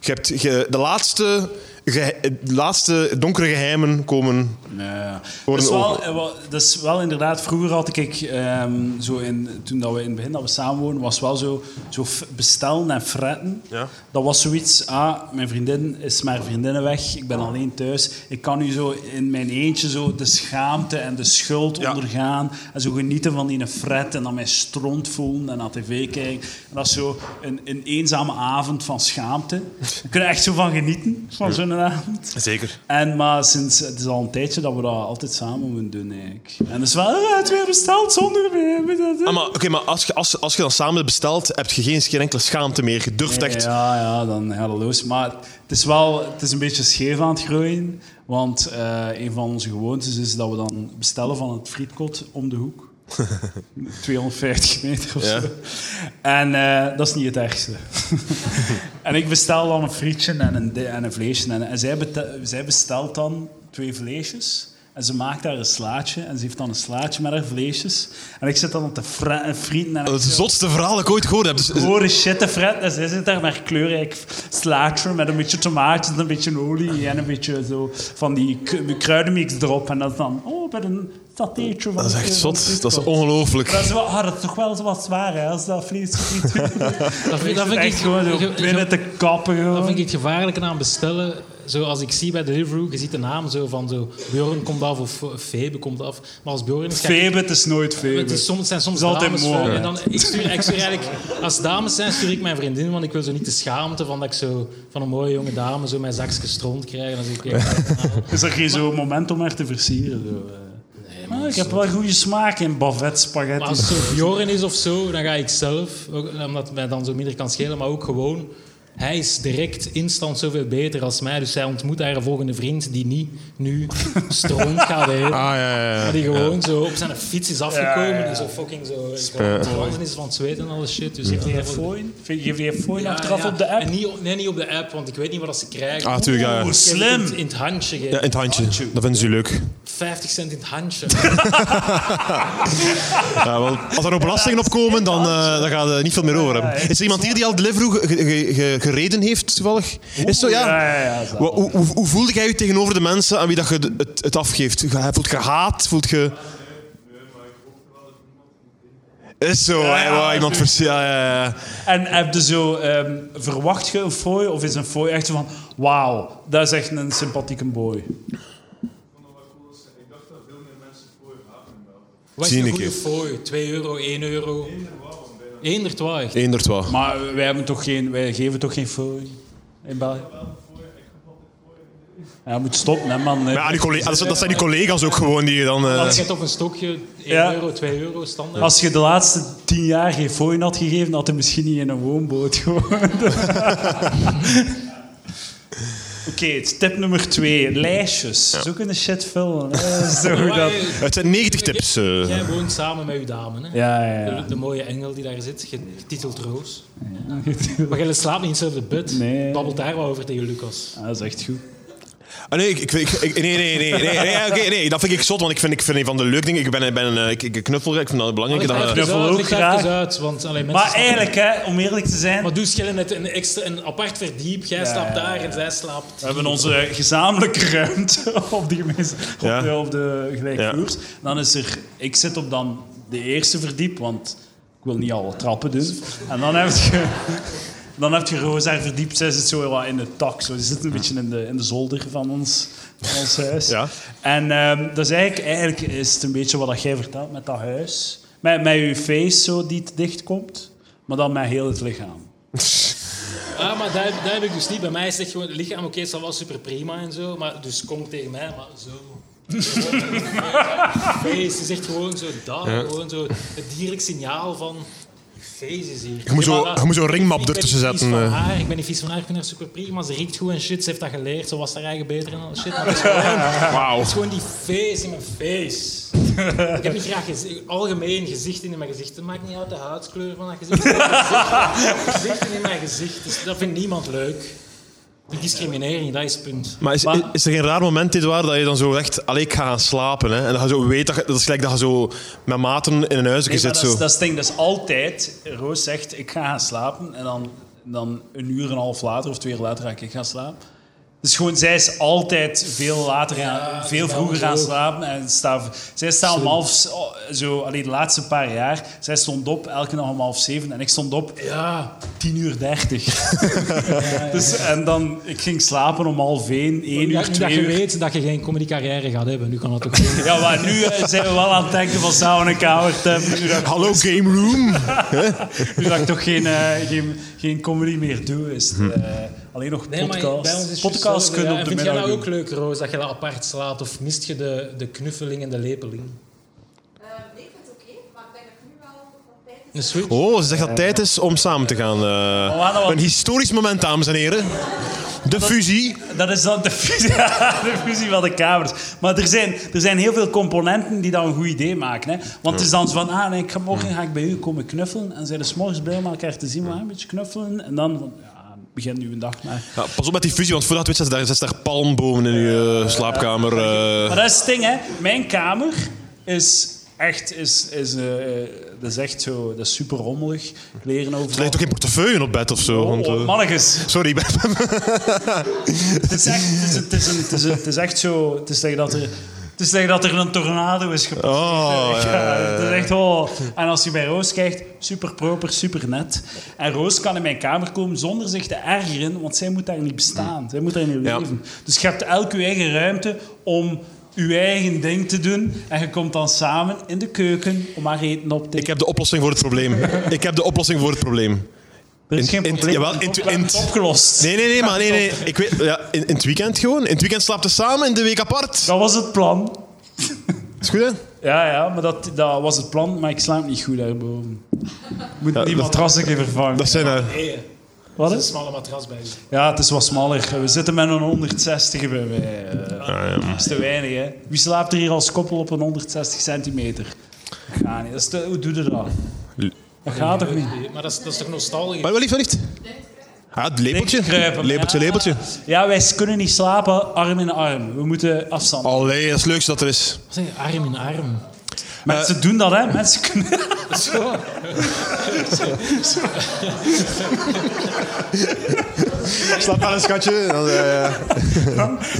S2: Je hebt je- de laatste gehe- de laatste donkere geheimen komen.
S1: Ja.
S2: Voor
S1: Dat is
S2: een
S1: wel,
S2: ogen.
S1: eh, wel- dat is wel inderdaad, vroeger had ik ehm, zo in, toen dat we in het begin dat we samen woonden, was wel zo, zo f- bestellen en fretten.
S2: Ja.
S1: Dat was zoiets, ah, mijn vriendin is maar vriendinnen weg, ik ben alleen thuis. Ik kan nu zo in mijn eentje zo de schaamte en de schuld
S2: Ja.
S1: ondergaan. En zo genieten van die fret en dan mij stront voelen en naar tv kijken. En dat is zo een, een eenzame avond van schaamte. We kunnen echt zo van genieten, van zo'n avond.
S2: Zeker.
S1: En maar sinds, het is al een tijdje dat we dat altijd samen moeten doen eigenlijk. En het is wel, eh, het weer besteld zonder eh, me.
S2: Ah, maar oké, maar als je, als, als je dan samen bestelt, heb je geen, geen enkele schaamte meer. Je durft echt.
S1: Ja, ja, dan gaat het los. Maar het is wel, het is een beetje scheef aan het groeien. Want eh, een van onze gewoontes is dat we dan bestellen van het frietkot om de hoek. 250 meter of
S2: Ja.
S1: zo. En eh, dat is niet het ergste. en ik bestel dan een frietje en een, di- en een vleesje. En, en zij, bete- zij bestelt dan twee vleesjes. En ze maakt daar een slaatje. En ze heeft dan een slaatje met haar vleesjes. En ik zit dan op de frieten. En ik
S2: Dat is
S1: zo-
S2: het zotste verhaal dat ik ooit gehoord heb. Dus-
S1: Rode shit, de Fred. En zij zit daar naar kleurrijk slaatje met een beetje tomaatjes, een beetje olie en een beetje zo van die k- kruidenmix erop. En dat is dan, oh, bij een satéetje van
S2: Dat is
S1: de-
S2: echt
S1: van de
S2: zot. Dat is
S1: frietkool.
S2: ongelooflijk.
S1: Dat is, wel, ah, dat is toch wel zo wat zwaar, hè, als dat vlees friet.
S3: Dat vind,
S1: Dat vind ik echt gewoon zo binnen te kappen. Gewoon.
S3: Dat vind ik het gevaarlijke aan bestellen. Zoals ik zie bij Deliveroo, je ziet de naam zo van zo... Bjorn komt af of eh, Febe komt af. Maar als Bjorn is... kijk,
S1: Febe, het is nooit Febe.
S3: het is soms, het zijn soms
S1: Het is altijd
S3: dames
S1: mooi,
S3: voor-
S1: hè.
S3: en dan, ik, stuur, ik stuur eigenlijk, als dames zijn, stuur ik mijn vriendin, want ik wil zo niet de schaamte van dat ik zo van een mooie jonge dame zo mijn zakje stront krijg. En dan zeg ik, ja,
S1: Is er geen zo'n moment om haar te versieren? Zo. eh. Maar ik heb wel goede smaak in bavet
S3: Maar
S1: spaghetti.
S3: als het zo Bjorn is of zo, dan ga ik zelf, ook omdat het mij dan zo minder kan schelen, maar ook gewoon. Hij is direct instant zoveel beter als mij, dus hij ontmoet haar volgende vriend die niet nu stront gaat eten.
S2: Ah, ja, ja, ja.
S3: Maar die gewoon zo op zijn fiets is afgekomen
S1: Ja, ja, ja.
S3: en zo fucking zo veranderd is van het zweet en alle shit. Dus heeft hij
S1: Geef
S3: voor-
S1: je fooi? Geef je fooi
S3: Ja,
S1: achteraf
S3: Ah, ja.
S1: op de app?
S3: En niet, op- nee, niet op de app, want ik weet niet wat dat ze krijgen.
S2: Ah, tuurlijk, ja, ja.
S3: Ik heb het
S1: slim.
S3: In, in het handje geven.
S2: Ja, in het handje. Dat vinden ze leuk.
S3: 50 cent in het handje.
S2: Ja, wel, als er nog belastingen op komen, dan, eh, dan gaat er niet veel meer over hebben. Is er iemand hier die al Deliveroo ge- ge- ge- gereden heeft, toevallig? Is het zo, ja?
S1: ja, ja, zo.
S2: Wa- Hoe, hoe, hoe voelde jij je tegenover de mensen aan wie dat je de- het, het afgeeft? Ge- Voelt je haat? Voelt je... Is zo, hè, wauw, iemand vers... Ja, ja, ja.
S1: En heb je zo, ehm, verwacht je een fooi of is een fooi echt zo van, wauw, dat is echt een sympathieke boy?
S3: Wat is
S2: Zie
S3: een
S2: ik
S3: goede
S2: even.
S3: fooi? 2 euro, 1 euro. Eender twaalf.
S2: Eender twaalf.
S1: Maar eh, wij, hebben toch geen, wij geven toch geen fooi in België? Ja, je moet stoppen, hè, man.
S2: Maar ja, die collega- dat, zijn- dat zijn die collega's ook gewoon die je dan... eh,
S3: Als je het op een stokje 1
S1: Ja.
S3: euro, 2 euro standaard.
S1: Als je de laatste tien jaar geen fooi had gegeven, had hij misschien niet in een woonboot gewoond. Oké, tip nummer twee. Lijstjes. Zo kunnen shit vullen. hè. Zo
S3: Maar
S1: dat...
S3: jij-
S2: het zijn 90 tips. eh.
S3: Jij woont samen met je dame, hè?
S1: Ja, ja, ja.
S3: De, de mooie engel die daar zit, getiteld Roos. Maar jij slaapt niet in hetzelfde bed.
S1: Nee.
S3: Babbelt daar wel over tegen Lucas.
S1: Ah, dat is echt goed.
S2: Ah, nee, ik, ik, ik- ik- nee, nee, nee, nee, nee, nee, oké, nee, dat vind ik zot, want ik vind, ik vind een van de leuke dingen. Ik ben, ik ben eh, ik, ik knuffel, ik vind dat belangrijk.
S3: Ligt
S2: Dan,
S3: Oh, even
S2: eh,
S1: knuffel
S3: uit,
S1: ook
S3: ligt even
S1: graag.
S3: uit, want alleen mensen
S1: Maar eigenlijk, hè, om eerlijk te zijn,
S3: Maar doe schillen net een, extra, een apart verdiep. Jij slaapt daar en zij slaapt.
S1: we hebben onze gezamenlijke ruimte op de, gemeens-
S2: Ja.
S1: op de, op de
S2: Ja.
S1: gelijkvloers. Dan is er, ik zit op dan de eerste verdiep, want ik wil niet alle trappen doen. En dan heb je, dan heb je Roos haar verdiep, zij zit zo wat in de tak. Zo. Die zit een beetje in de, in de zolder van ons, van ons huis.
S2: Ja.
S1: En ehm dat is eigenlijk, eigenlijk is het een beetje wat dat jij vertelt met dat huis. Met, met je face zo die dichtkomt, maar dan met heel het lichaam.
S3: Ah, maar daar, daar heb ik dus niet. Bij mij is het echt gewoon het lichaam. Oké, het is wel super prima en zo. Maar dus kom tegen mij, maar zo. Face is echt gewoon zo dat. Gewoon zo het dierlijk signaal van. Face is hier.
S2: Je moet
S3: Ja,
S2: zo-
S3: maar dat-
S2: je moet zo'n ringmap
S3: ik ben
S2: ertussen
S3: niet vies
S2: zetten,
S3: van
S2: eh.
S3: haar, ik ben niet vies van haar, ik vind haar super prima. Ze riekt goed en shit. Ze heeft dat geleerd. Ze was haar eigen beter en al shit. Maar het is gewoon-
S2: Wauw.
S3: Het is gewoon die face in mijn face. ik heb niet graag gezi- algemeen gezichten in mijn gezicht. Het maakt niet uit de huidskleur van dat gezicht. Gezichten- gezichten in mijn gezicht. Dus dat vindt niemand leuk. De discriminering, dat is het punt.
S2: Maar is,
S1: Maar-
S2: is er geen raar moment, dit waar, dat je dan zo echt, allee, ik ga gaan slapen, hè? En dat je zo weet, dat, je- dat is gelijk dat je zo met maten in een huisje
S1: Nee, maar
S2: zit,
S1: dat, is,
S2: zo.
S1: dat is het ding, dat is altijd. Roos zegt: Ik ga gaan slapen. En dan, dan een uur en een half later of twee uur later ga ik gaan slapen.
S6: Dus gewoon, zij is altijd veel later, aan-
S3: Ja, die
S6: veel vroeger
S3: dames
S6: aan
S3: ook.
S6: slapen. En staat, zij staat om half, s- oh, zo, allee, de laatste paar jaar, zij stond op elke dag om half zeven en ik stond op
S3: Ja,
S6: 10 uur 30. dus, en dan, ik ging slapen om half één, één
S3: nu
S6: uur,
S3: dat
S6: twee
S3: je
S6: uur.
S3: weet dat je geen comedy carrière gaat hebben, nu kan dat ook niet.
S6: Ja, maar nu eh, zijn we wel aan het denken van samen een kamer te hebben. Nu dat ik
S2: Hallo Game Room.
S6: Nu dat ik toch geen, eh, geen, geen comedy meer doe, is het, eh, alleen nog podcasts. podcasts kunnen op de
S3: Vind jij
S6: middag
S3: dat ook
S6: doen.
S3: leuk, Roos, dat je dat apart slaat? Of mist je de, de knuffeling en de lepeling?
S5: Eh, nee, ik vind het oké, maar ik denk dat nu wel wat tijd is.
S3: Een switch?
S2: Oh, ze zegt dat het tijd is om samen te gaan. eh.
S6: We hadden wat-
S2: een historisch moment, dames en heren. De fusie.
S6: Dat is dan de fusie, ja, de fusie van de kamers. Maar er zijn, er zijn heel veel componenten die dan een goed idee maken. Hè? Want het is dan zo van, ah, nee, ik ga morgen ga ik bij u komen knuffelen. En zijn dus morgens blij om elkaar te zien, maar een beetje knuffelen. En dan van, ja, begin nu een dag maar.
S2: Ja, pas op met die fusie, want voordat het weet, zet daar, zet daar palmbomen in je eh, slaapkamer. eh.
S6: Maar dat is het ding, hè. Mijn kamer is echt, is, is, eh, eh, dat is echt zo, dat is super rommelig. Kleren
S2: er
S6: overal.
S2: ligt ook geen portefeuille op bed of zo. Want,
S6: Oh,
S2: eh,
S6: mannetjes.
S2: sorry, ik ben-
S6: Het is echt, het is, het is, een, het is, een- het is echt zo. Het is like dat er. Het is like dat er een tornado is gepast.
S2: Oh,
S6: Ja,
S2: ja, ja,
S6: het is echt wel. En als je bij Roos kijkt, super proper, super net. En Roos kan in mijn kamer komen zonder zich te ergeren, want zij moet daar niet bestaan. Zij moet daar niet
S2: Ja.
S6: leven. Dus je hebt elk je eigen ruimte om je eigen ding te doen. En je komt dan samen in de keuken om haar eten op te
S2: Ik heb de oplossing voor het probleem. Ik heb de oplossing voor het probleem.
S6: Er is
S2: in-
S6: geen
S2: in-
S6: probleem.
S2: jawel, in-
S6: We hebben
S2: in-
S6: het opgelost.
S2: Nee, nee, nee, maar nee, nee. Ik weet, ja, in, in het weekend gewoon. In het weekend slaapten ze samen, in de week apart.
S6: Dat was het plan.
S2: Is goed, hè?
S6: Ja, ja, maar dat, dat was het plan, maar ik slaap niet goed daarboven. Moet
S2: Ja,
S6: die
S2: dat-
S6: matras een keer vervangen.
S2: Dat zijn... eh,
S3: Nee,
S6: Wat
S3: een
S6: is?
S3: smalle matras bij je.
S6: Ja, het is wat smaller. We zitten met een 160 bij mij. eh. dat is te weinig, hè. Wie slaapt er hier als koppel op een 160 centimeter? Dat gaat niet. Dat is te- hoe doe je dat? Dat gaat toch niet?
S3: Maar dat is, dat is toch nostalgisch?
S2: Maar wel lief, wel lief. Ah, het lepeltje.
S6: Dikkruipen,
S2: Lepeltje,
S6: ja.
S2: lepeltje.
S6: Ja, wij kunnen niet slapen arm in arm. We moeten afstand.
S2: Allee, dat is het leukste dat er is.
S3: Wat zeg je? Arm in arm.
S6: Mensen doen dat, hè. Mensen kunnen...
S2: Slaap maar een schatje. Dan, eh,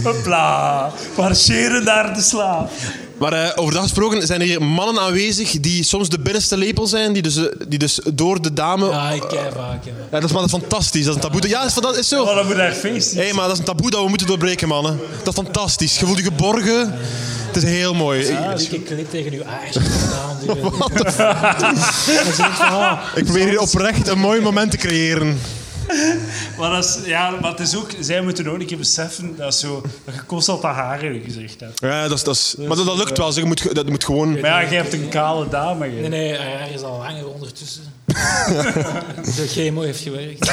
S6: Hopla. Marcheren naar de slaap.
S2: Maar eh, over dat gesproken zijn er hier mannen aanwezig die soms de binnenste lepel zijn, die dus, eh, die dus door de dame... Ja.
S3: Ja, ik kei vaak. Ja.
S2: dat, is, maar dat is fantastisch, dat is een taboe. Ja, dat is, dat is zo.
S6: Oh, dan moet daar feest
S2: Hé, maar dat is een taboe dat we moeten doorbreken, mannen. Dat is fantastisch. Je voelt je geborgen. Het is heel mooi. Ik,
S3: Een dikke klik tegen uw aars. Wat de
S2: ik probeer hier oprecht een mooi moment te creëren.
S6: Maar, dat is, ja, maar het is ook, zij moeten ook een keer beseffen dat, zo, dat je constant dat haar in je gezicht hebt.
S2: Ja, dat is, dat is, maar dat, dat lukt wel. Zeg. Je moet, ge- dat moet gewoon...
S6: Maar ja, jij hebt een kale dame. hè.
S3: Nee, nee, haar is al langer ondertussen. De chemo heeft gewerkt.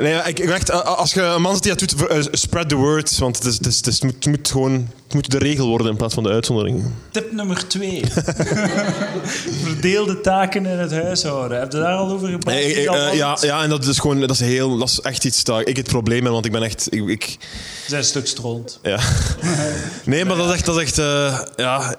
S2: Nee, ik, ik echt, eh, als je een man zit die dat doet, ver- eh, spread the word. Want het, is, het, is, het, is- het moet, het moet gewoon het moet de regel worden in plaats van de uitzondering.
S6: Tip nummer twee. Verdeelde taken in het huishouden. Heb je daar al over gepraat?
S2: Nee, ik- ik-
S6: Dat
S2: eh,
S6: van-
S2: ja, ja, en dat is gewoon dat is heel, dat is echt iets dat ik het probleem heb, want ik ben echt, ik, ik-
S6: Zijn stuk stront.
S2: ja. Nee, maar dat is echt, dat is echt, eh, ja,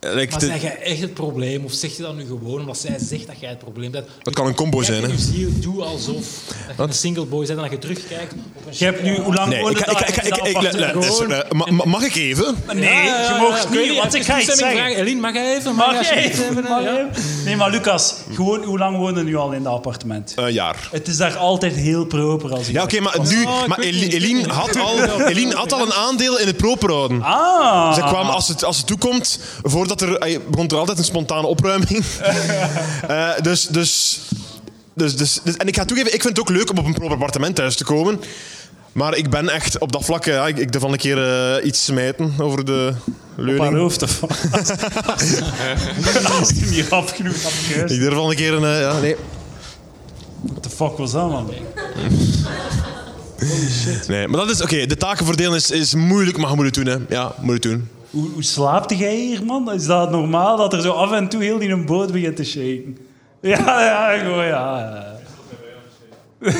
S2: like,
S3: Maar
S2: de-
S3: zeg jij echt het probleem? Of zeg je dat nu gewoon omdat zij zegt dat jij het probleem bent?
S2: dat kan een combo zijn, hè?
S3: Dus hier doe alsof dat je een single boy bent en dat je terugkijkt op een
S6: Je hebt nu, hoe lang
S2: Nee, ik, ik, ik, ik, ik- ik- luister, eh, ma- ma- mag ik even?
S6: Nee, je mag niet, want ik ga iets zeggen.
S3: Elin, mag jij even?
S6: Mag
S3: jij
S6: jij
S3: alsjeblieft
S6: even?
S3: ja?
S6: Mag jij even? Nee, maar Lucas, gewoon, hoe lang woonde nu al in dat appartement?
S2: Een jaar.
S6: Het is daar altijd heel proper als ik
S2: Ja, oké, maar nu,
S3: Oh, ik
S2: maar
S3: weet
S2: Eli-
S3: niet, ik weet
S2: Eline
S3: niet.
S2: had al, Eline had al een aandeel in het proper houden.
S6: Ah.
S2: Ze kwam, als het, als het toekomt, voordat er... ey, begon er altijd een spontane opruiming. Eh, dus, dus, dus, dus, dus- En ik ga toegeven, ik vind het ook leuk om op een proper appartement thuis te komen. Maar ik ben echt op dat vlak... eh, Ja, ik, ik durf al een keer eh, iets smijten over de
S6: op haar
S2: leuning.
S6: hoofd of wat? Als hij niet rap genoeg had gehuist.
S2: Ik durf al een keer een... eh, ja, nee.
S6: What the fuck was dat, man?
S2: nee, maar dat is... Oké, de taken verdelen is, is moeilijk, maar je moet het doen, hè. Ja, moet het doen.
S6: Hoe, hoe slaapt jij hier, man? Is dat normaal dat er zo af en toe heel die een boot begint te shaken? Ja, ja, gewoon, ja.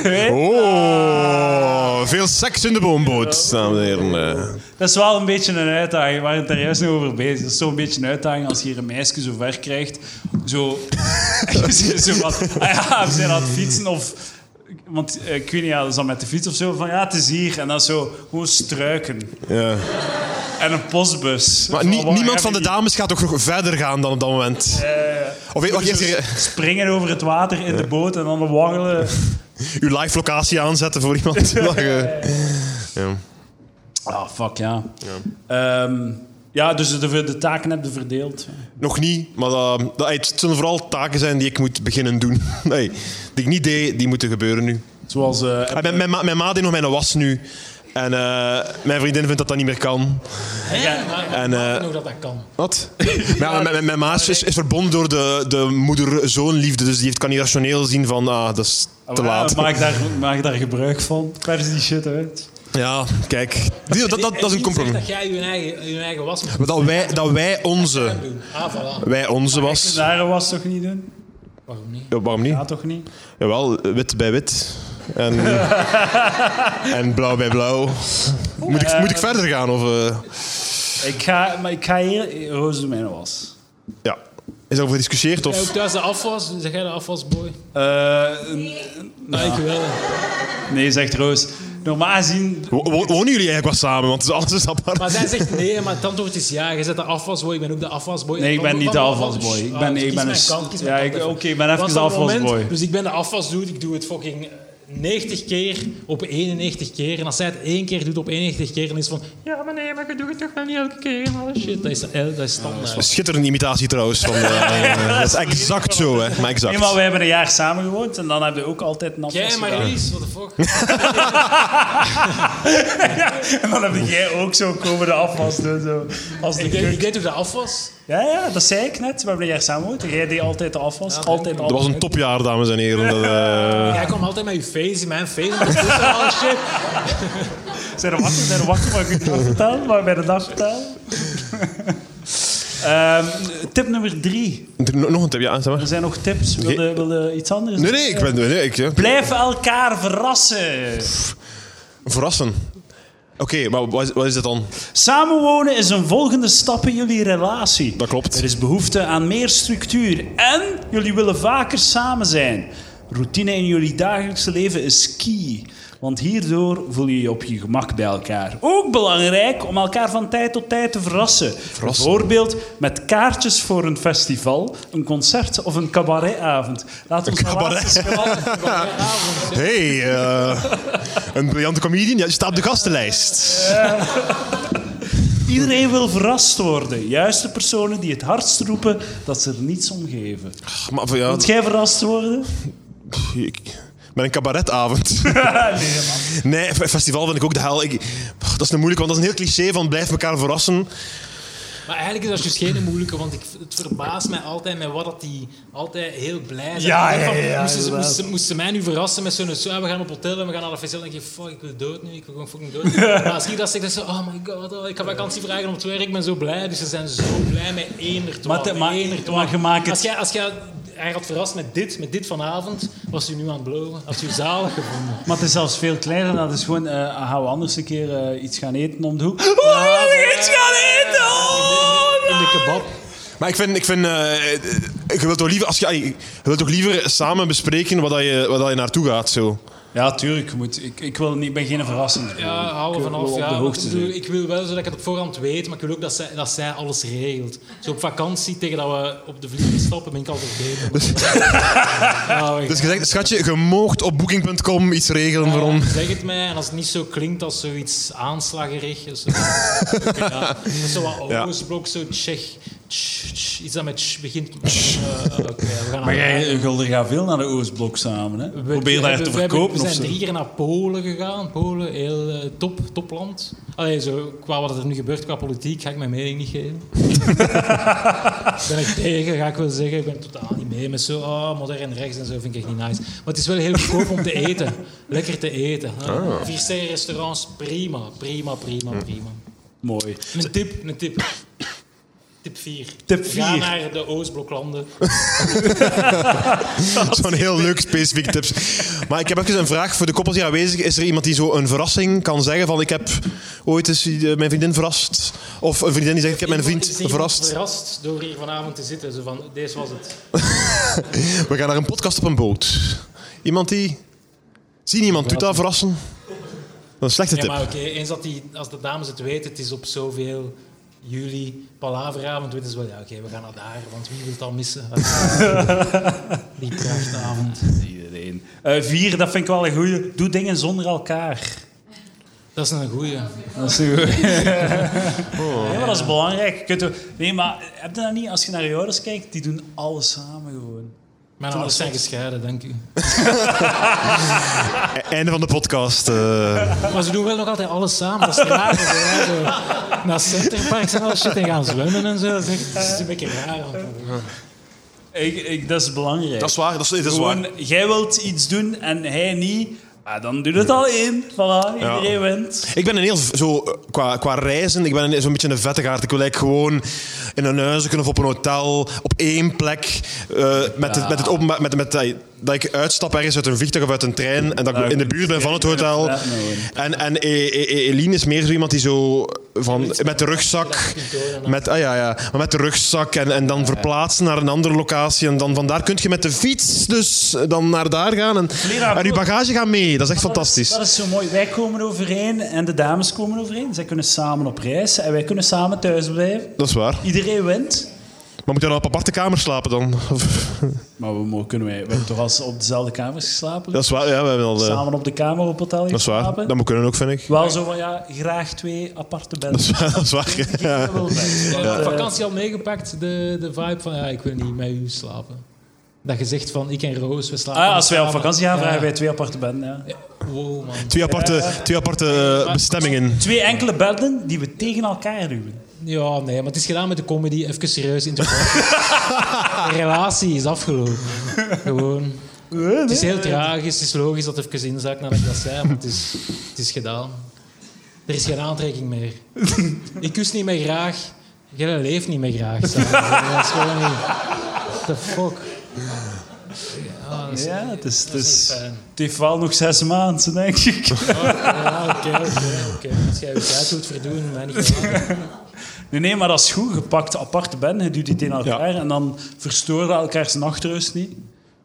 S6: Nee?
S2: Oh, veel seks in de boomboot, dames en heren. eh.
S6: Dat is wel een beetje een uitdaging. We waren het daar juist nog over bezig. Dat is zo'n beetje een uitdaging als je hier een meisje zo ver krijgt. Zo, zo wat, ah ja, we zijn aan het fietsen of Want eh, ik weet niet, ja, dat is dan met de fiets of zo. Van ja, het is hier. En dan zo gewoon struiken.
S2: Ja.
S6: En een postbus.
S2: Maar
S6: Van,
S2: nie-
S6: waar heb
S2: niemand van
S6: je
S2: de
S6: die-
S2: dames gaat toch nog verder gaan dan op dat moment? Of wacht, eerst
S6: Zo
S2: hier, eh,
S6: Springen over het water in de boot en dan waggelen.
S2: uw live locatie aanzetten voor iemand. Maar, eh, ja.
S6: Ah, fuck ja. Ja, ja dus de, de taken heb je verdeeld.
S2: Nog niet, maar dat, dat, hey, het zullen vooral taken zijn die ik moet beginnen doen. Hey, die ik niet deed, die moeten gebeuren nu.
S6: Zoals... eh,
S2: Ah, Mijn, mijn, ma, mijn ma deed nog mijn was nu. En eh, mijn vriendin vindt dat dat niet meer kan.
S6: Ja,
S3: maar
S2: en,
S3: en, ik
S2: eh,
S3: nog dat dat kan.
S2: Wat? Maar ja, mijn, mijn, mijn ma is, is verbonden door de, de moeder-zoon-liefde. Dus die heeft, kan niet rationeel zien van, ah, dat is te laat.
S6: Maak daar, maak daar gebruik van. Pers die shit uit.
S2: Ja, kijk. Die- Dat, dat, dat, is een compromis.
S3: compromis. dat jij je eigen, je eigen was moet
S2: Maar Dat wij, dat wij onze...
S3: doen. Ah, voilà.
S2: Wij onze was...
S6: Daar was toch niet doen?
S3: Waarom niet?
S2: Ja, waarom niet?
S6: Ja, toch niet?
S2: Jawel, wit bij wit. En, en blauw bij blauw. Moet ik, moet ik verder gaan? Of, eh,
S6: Ik ga, maar ik ga hier... Roos de mijne was.
S2: ja. Is daarover gediscussieerd?
S3: Jij ook
S2: Of?
S3: thuis de afwas? Zeg jij de afwasboy?
S6: Eh,
S3: Nee, ik wel.
S6: nee, zegt Roos. Normaal gezien...
S2: Wo- wo- Wonen jullie eigenlijk wel samen? Want alles is apart.
S3: Maar zij zegt nee, maar het antwoord is ja. Je zet de afwasboy, ik ben ook de afwasboy.
S6: Nee, ik ben
S3: Wat-
S6: niet de
S3: wat- wat-
S6: afwasboy. Ik
S3: Ah,
S6: ben-
S3: dus
S6: ik
S3: kies
S6: ben
S3: mijn
S6: een-
S3: kant, kies
S6: ja,
S3: mijn
S6: ik-
S3: kant even.
S6: oké, ik ben even
S3: Want
S6: de
S3: op het moment-
S6: afwasboy.
S3: Dus ik ben de afwasdude, ik doe het fucking 90 keer op 91 keer. En als zij het één keer doet op 91 keer, dan is het van... Ja, maar nee, maar je doet het toch maar niet elke keer en alle shit. Dat is, eh, dat is standaard.
S2: Schitterende imitatie trouwens. Van, eh, dat is exact zo, hè. Maar
S6: Nee, maar
S2: exact.
S6: we hebben een jaar samen gewoond en dan hebben we ook altijd een afwas
S3: Jij,
S6: gedaan.
S3: Marlies, what the fuck?
S6: En dan heb jij ook zo komen de afwas doen. Zo, als de
S3: ik, deed, ik
S6: keuken.
S3: deed toch de afwas?
S6: Ja, ja, dat zei ik net. We hebben een jaar samen gewoond. en Jij deed altijd de afwas. altijd
S2: Dat was
S6: afwas.
S2: een topjaar, dames en heren. Dat, eh,
S3: Jij kwam altijd met je face in mijn face. met je voeten en alle shit.
S6: Zijn er wachten, zijn er wachten, maar ik het niet vertellen. Maar bij de dag vertellen. Ehm, tip nummer drie.
S2: Nog nog een tip, ja. Zeg
S6: Er
S2: maar.
S6: zijn nog tips. Wil je, wil je iets anders?
S2: Nee, nee, ik ben... Nee, ik, eh, ja.
S6: Blijf elkaar verrassen.
S2: Verrassen. Oké, maar wat is, wat is dat dan?
S6: Samenwonen is een volgende stap in jullie relatie.
S2: Dat klopt.
S6: Er is behoefte aan meer structuur en jullie willen vaker samen zijn. Routine in jullie dagelijkse leven is key, want hierdoor voel je je op je gemak bij elkaar. Ook belangrijk om elkaar van tijd tot tijd te verrassen. Bijvoorbeeld met kaartjes voor een festival, een concert of een cabaretavond. Laten we
S2: cabaret. Hé, hey, eh, een briljante comedian. Ja, je staat op de gastenlijst.
S6: Iedereen wil verrast worden. Juist de personen die het hardst roepen dat ze er niets om geven.
S2: Maar voor jou...
S6: Moet jij verrast worden?
S2: Ik- Met een cabaretavond. nee, f- festival vind ik ook de hel. Ik, pff, dat is een moeilijk, want dat is een heel cliché van blijf elkaar verrassen.
S3: Maar eigenlijk is dat juist geen moeilijke, want ik, het verbaast mij altijd met wat dat die altijd heel blij zijn.
S6: Ja,
S3: Ik denk van,
S6: ja, ja, ja,
S3: moesten, ze,
S6: inderdaad.
S3: moesten- moesten ze mij nu verrassen met zo'n ja, we gaan op hotel en we gaan naar de festival. Dan denk je, fuck, ik wil dood nu, ik wil gewoon fucking dood. maar als ik dat zeg, dan zeg ik, oh my god, oh, ik ga vakantie vragen om het werk, ik ben zo blij. Dus ze zijn zo blij met één er twaalf,
S6: Maar te- maar-
S3: één er twaalf.
S6: maar je maakt het-
S3: Als jij, als jij, hij had verrast met dit, met dit vanavond, was u nu aan het blowen. Had u zalig gevonden.
S6: Maar het is zelfs veel kleiner. Dat is gewoon, eh, gaan we anders een keer eh, iets gaan eten om de hoek.
S3: Ja, maar- In de
S6: nee.
S3: kebab.
S2: Maar ik vind, ik vind eh, eh, je wilt toch liever, als je, ah, je wilt toch liever samen bespreken waar, dat je, waar dat je naartoe gaat. Zo.
S6: Ja, tuurlijk. Moet, ik, ik, wil niet, ik ben geen verrassing.
S3: Ja, hou er
S6: Ik wil
S3: vanaf.
S6: op
S3: Ja,
S6: de
S3: want
S6: hoogte
S3: ik, bedoel, ik wil wel zodat ik het op voorhand weet, maar ik wil ook dat zij, dat zij alles regelt. Zo op vakantie, tegen dat we op de vlieger stappen, ben ik altijd beter.
S6: Dus-
S3: Nou, ik-
S2: Dus je zegt, schatje, je moogt op booking.com iets regelen voor ons.
S3: Zeg het mij, en als het niet zo klinkt als zoiets aanslagerig. is het- ja, dat is zo wat
S2: Ja.
S3: oogstblok, zo tsjech. tsch, tsch, iets dat met tsch begint. Eh, eh, oké, we gaan
S6: Maar
S3: aan-
S6: jij eh, Gulder gaat veel naar de Oostblok samen. Hè?
S3: We-
S6: Probeer
S3: we
S6: daar
S3: hebben-
S6: te
S3: we hebben-
S6: verkopen.
S3: We
S6: of
S3: zijn
S6: zo.
S3: drie keer naar Polen gegaan. Polen, heel eh, top, topland. Allee, zo, qua wat er nu gebeurt qua politiek, ga ik mijn mening niet geven. ben ik tegen, ga ik wel zeggen. Ik ben totaal niet mee met zo ah, modern rechts en zo, vind ik echt niet nice. Maar het is wel heel goedkoop om te eten. Lekker te eten. hè.
S2: Ah.
S3: Vier sterren restaurants, prima, prima,
S2: Hm.
S3: prima, prima.
S6: Mooi.
S3: Een tip, een tip. Tip 4.
S6: Tip
S3: Ga
S6: vier.
S3: naar de Oostbloklanden.
S2: Zo'n heel leuk specifiek tips. Maar ik heb even een vraag voor de koppels die aanwezig Is er iemand die zo een verrassing kan zeggen van ik heb ooit eens eh, mijn vriendin verrast? Of een vriendin die zegt ik heb mijn
S3: Is
S2: vriend
S3: iemand
S2: verrast?
S3: verrast door hier vanavond te zitten. Zo van, deze was het.
S2: We gaan naar een podcast op een boot. Iemand die... Zie je iemand doet dat verrassen? Dat is een slechte
S3: Ja,
S2: tip.
S3: maar oké, eens dat die, als de dames het weten, het is op zoveel juli, palaveravond, weten ze wel, ja oké, we gaan naar daar, want wie wil het al missen? die krachtavond.
S6: Iedereen. Eh, vier, dat vind ik wel een goeie. Doe dingen zonder elkaar.
S3: Dat is een goeie.
S6: Dat is Ja, maar dat is belangrijk. Je kunt ook- nee, maar heb je dat niet? Als je naar je ouders kijkt, die doen alles samen gewoon.
S3: Mijn ouders zijn gescheiden, dank u.
S2: E- Einde van de podcast. eh.
S3: Maar ze doen wel nog altijd alles samen, dat is raar. Zo, hè, zo. Naar Centerparks en alle shit en gaan zwemmen en zo. Dat is echt- dat is een beetje raar.
S6: Ik, ik, dat is belangrijk.
S2: dat is waar, dat is, dat is
S6: gewoon,
S2: waar.
S6: jij wilt iets doen en hij niet. Ah, dan doet het al één. Voilà, iedereen wint.
S2: Ik ben een heel, v- zo, eh, qua, qua reizen, ik ben een- zo'n beetje een vettegaard. Ik wil eigenlijk gewoon in een huisje of op een hotel, op één plek, eh, met, het, met het openbaar, met, met, dat- dat ik uitstap ergens uit een vliegtuig of uit een trein en dat ik
S6: Ja,
S2: in de buurt ben van het hotel.
S6: ja, nee.
S2: En, en eh, eh, eh, Eline is meer zo iemand die zo van, met de rugzak, met, ah, ja, ja, maar met de rugzak en, en dan verplaatsen naar een andere locatie en dan vandaar kun je met de fiets dus dan naar daar gaan en,
S6: Leraar,
S2: en je bagage gaat mee. Dat is echt fantastisch.
S6: Dat is zo mooi. Wij komen overeen en de dames komen overeen. Zij kunnen samen op reis en wij kunnen samen thuis blijven.
S2: Dat is waar.
S6: Iedereen wint.
S2: Maar moet je dan op aparte kamer slapen dan? Of-
S6: Maar we, mo- kunnen wij, we hebben toch al s- op dezelfde kamers geslapen?
S2: dat is waar, ja, we hebben al. eh,
S6: Samen op de kamer op hotel
S2: dat is waar.
S6: geslapen?
S2: Dat moet kunnen ook, vind ik.
S6: Wel zo van ja, graag twee aparte
S2: Dat
S6: bedden.
S2: is waar. Dat is waar. Ja.
S6: Ik wil bed.
S3: Ja. Op vakantie al meegepakt, de, de vibe van ja, ik wil niet met u slapen. Dat je zegt van ik en Roos, we slapen.
S6: Ah, als wij op vakantie gaan,
S3: Ja.
S6: vragen wij twee aparte bedden. Ja.
S3: Wow, man.
S2: Twee aparte, twee aparte eh, bestemmingen.
S6: Twee enkele bedden die we tegen elkaar duwen.
S3: Ja, nee, maar het is gedaan met de comedy. Even serieus in te De relatie is afgelopen. Gewoon. Het is heel tragisch, het is logisch dat het even inzakt nadat ik dat zei, maar het is, het is gedaan. Er is geen aantrekking meer. Ik kus niet meer graag. Jij leeft niet meer graag. samen. Dat is gewoon niet... What the fuck? Ja, dat is-
S6: Ja, het, is, het,
S3: dat is
S6: is,
S3: niet fijn.
S6: het heeft wel nog zes maanden, denk ik.
S3: Ja, oké, oké, oké. Als jij je tijd wilt verdoen, mij niet gedaan.
S6: Nee, nee, maar dat is goed. Je pakt aparte bedden, je duwt die tegen elkaar en dan verstoren we elkaars nachtrust niet.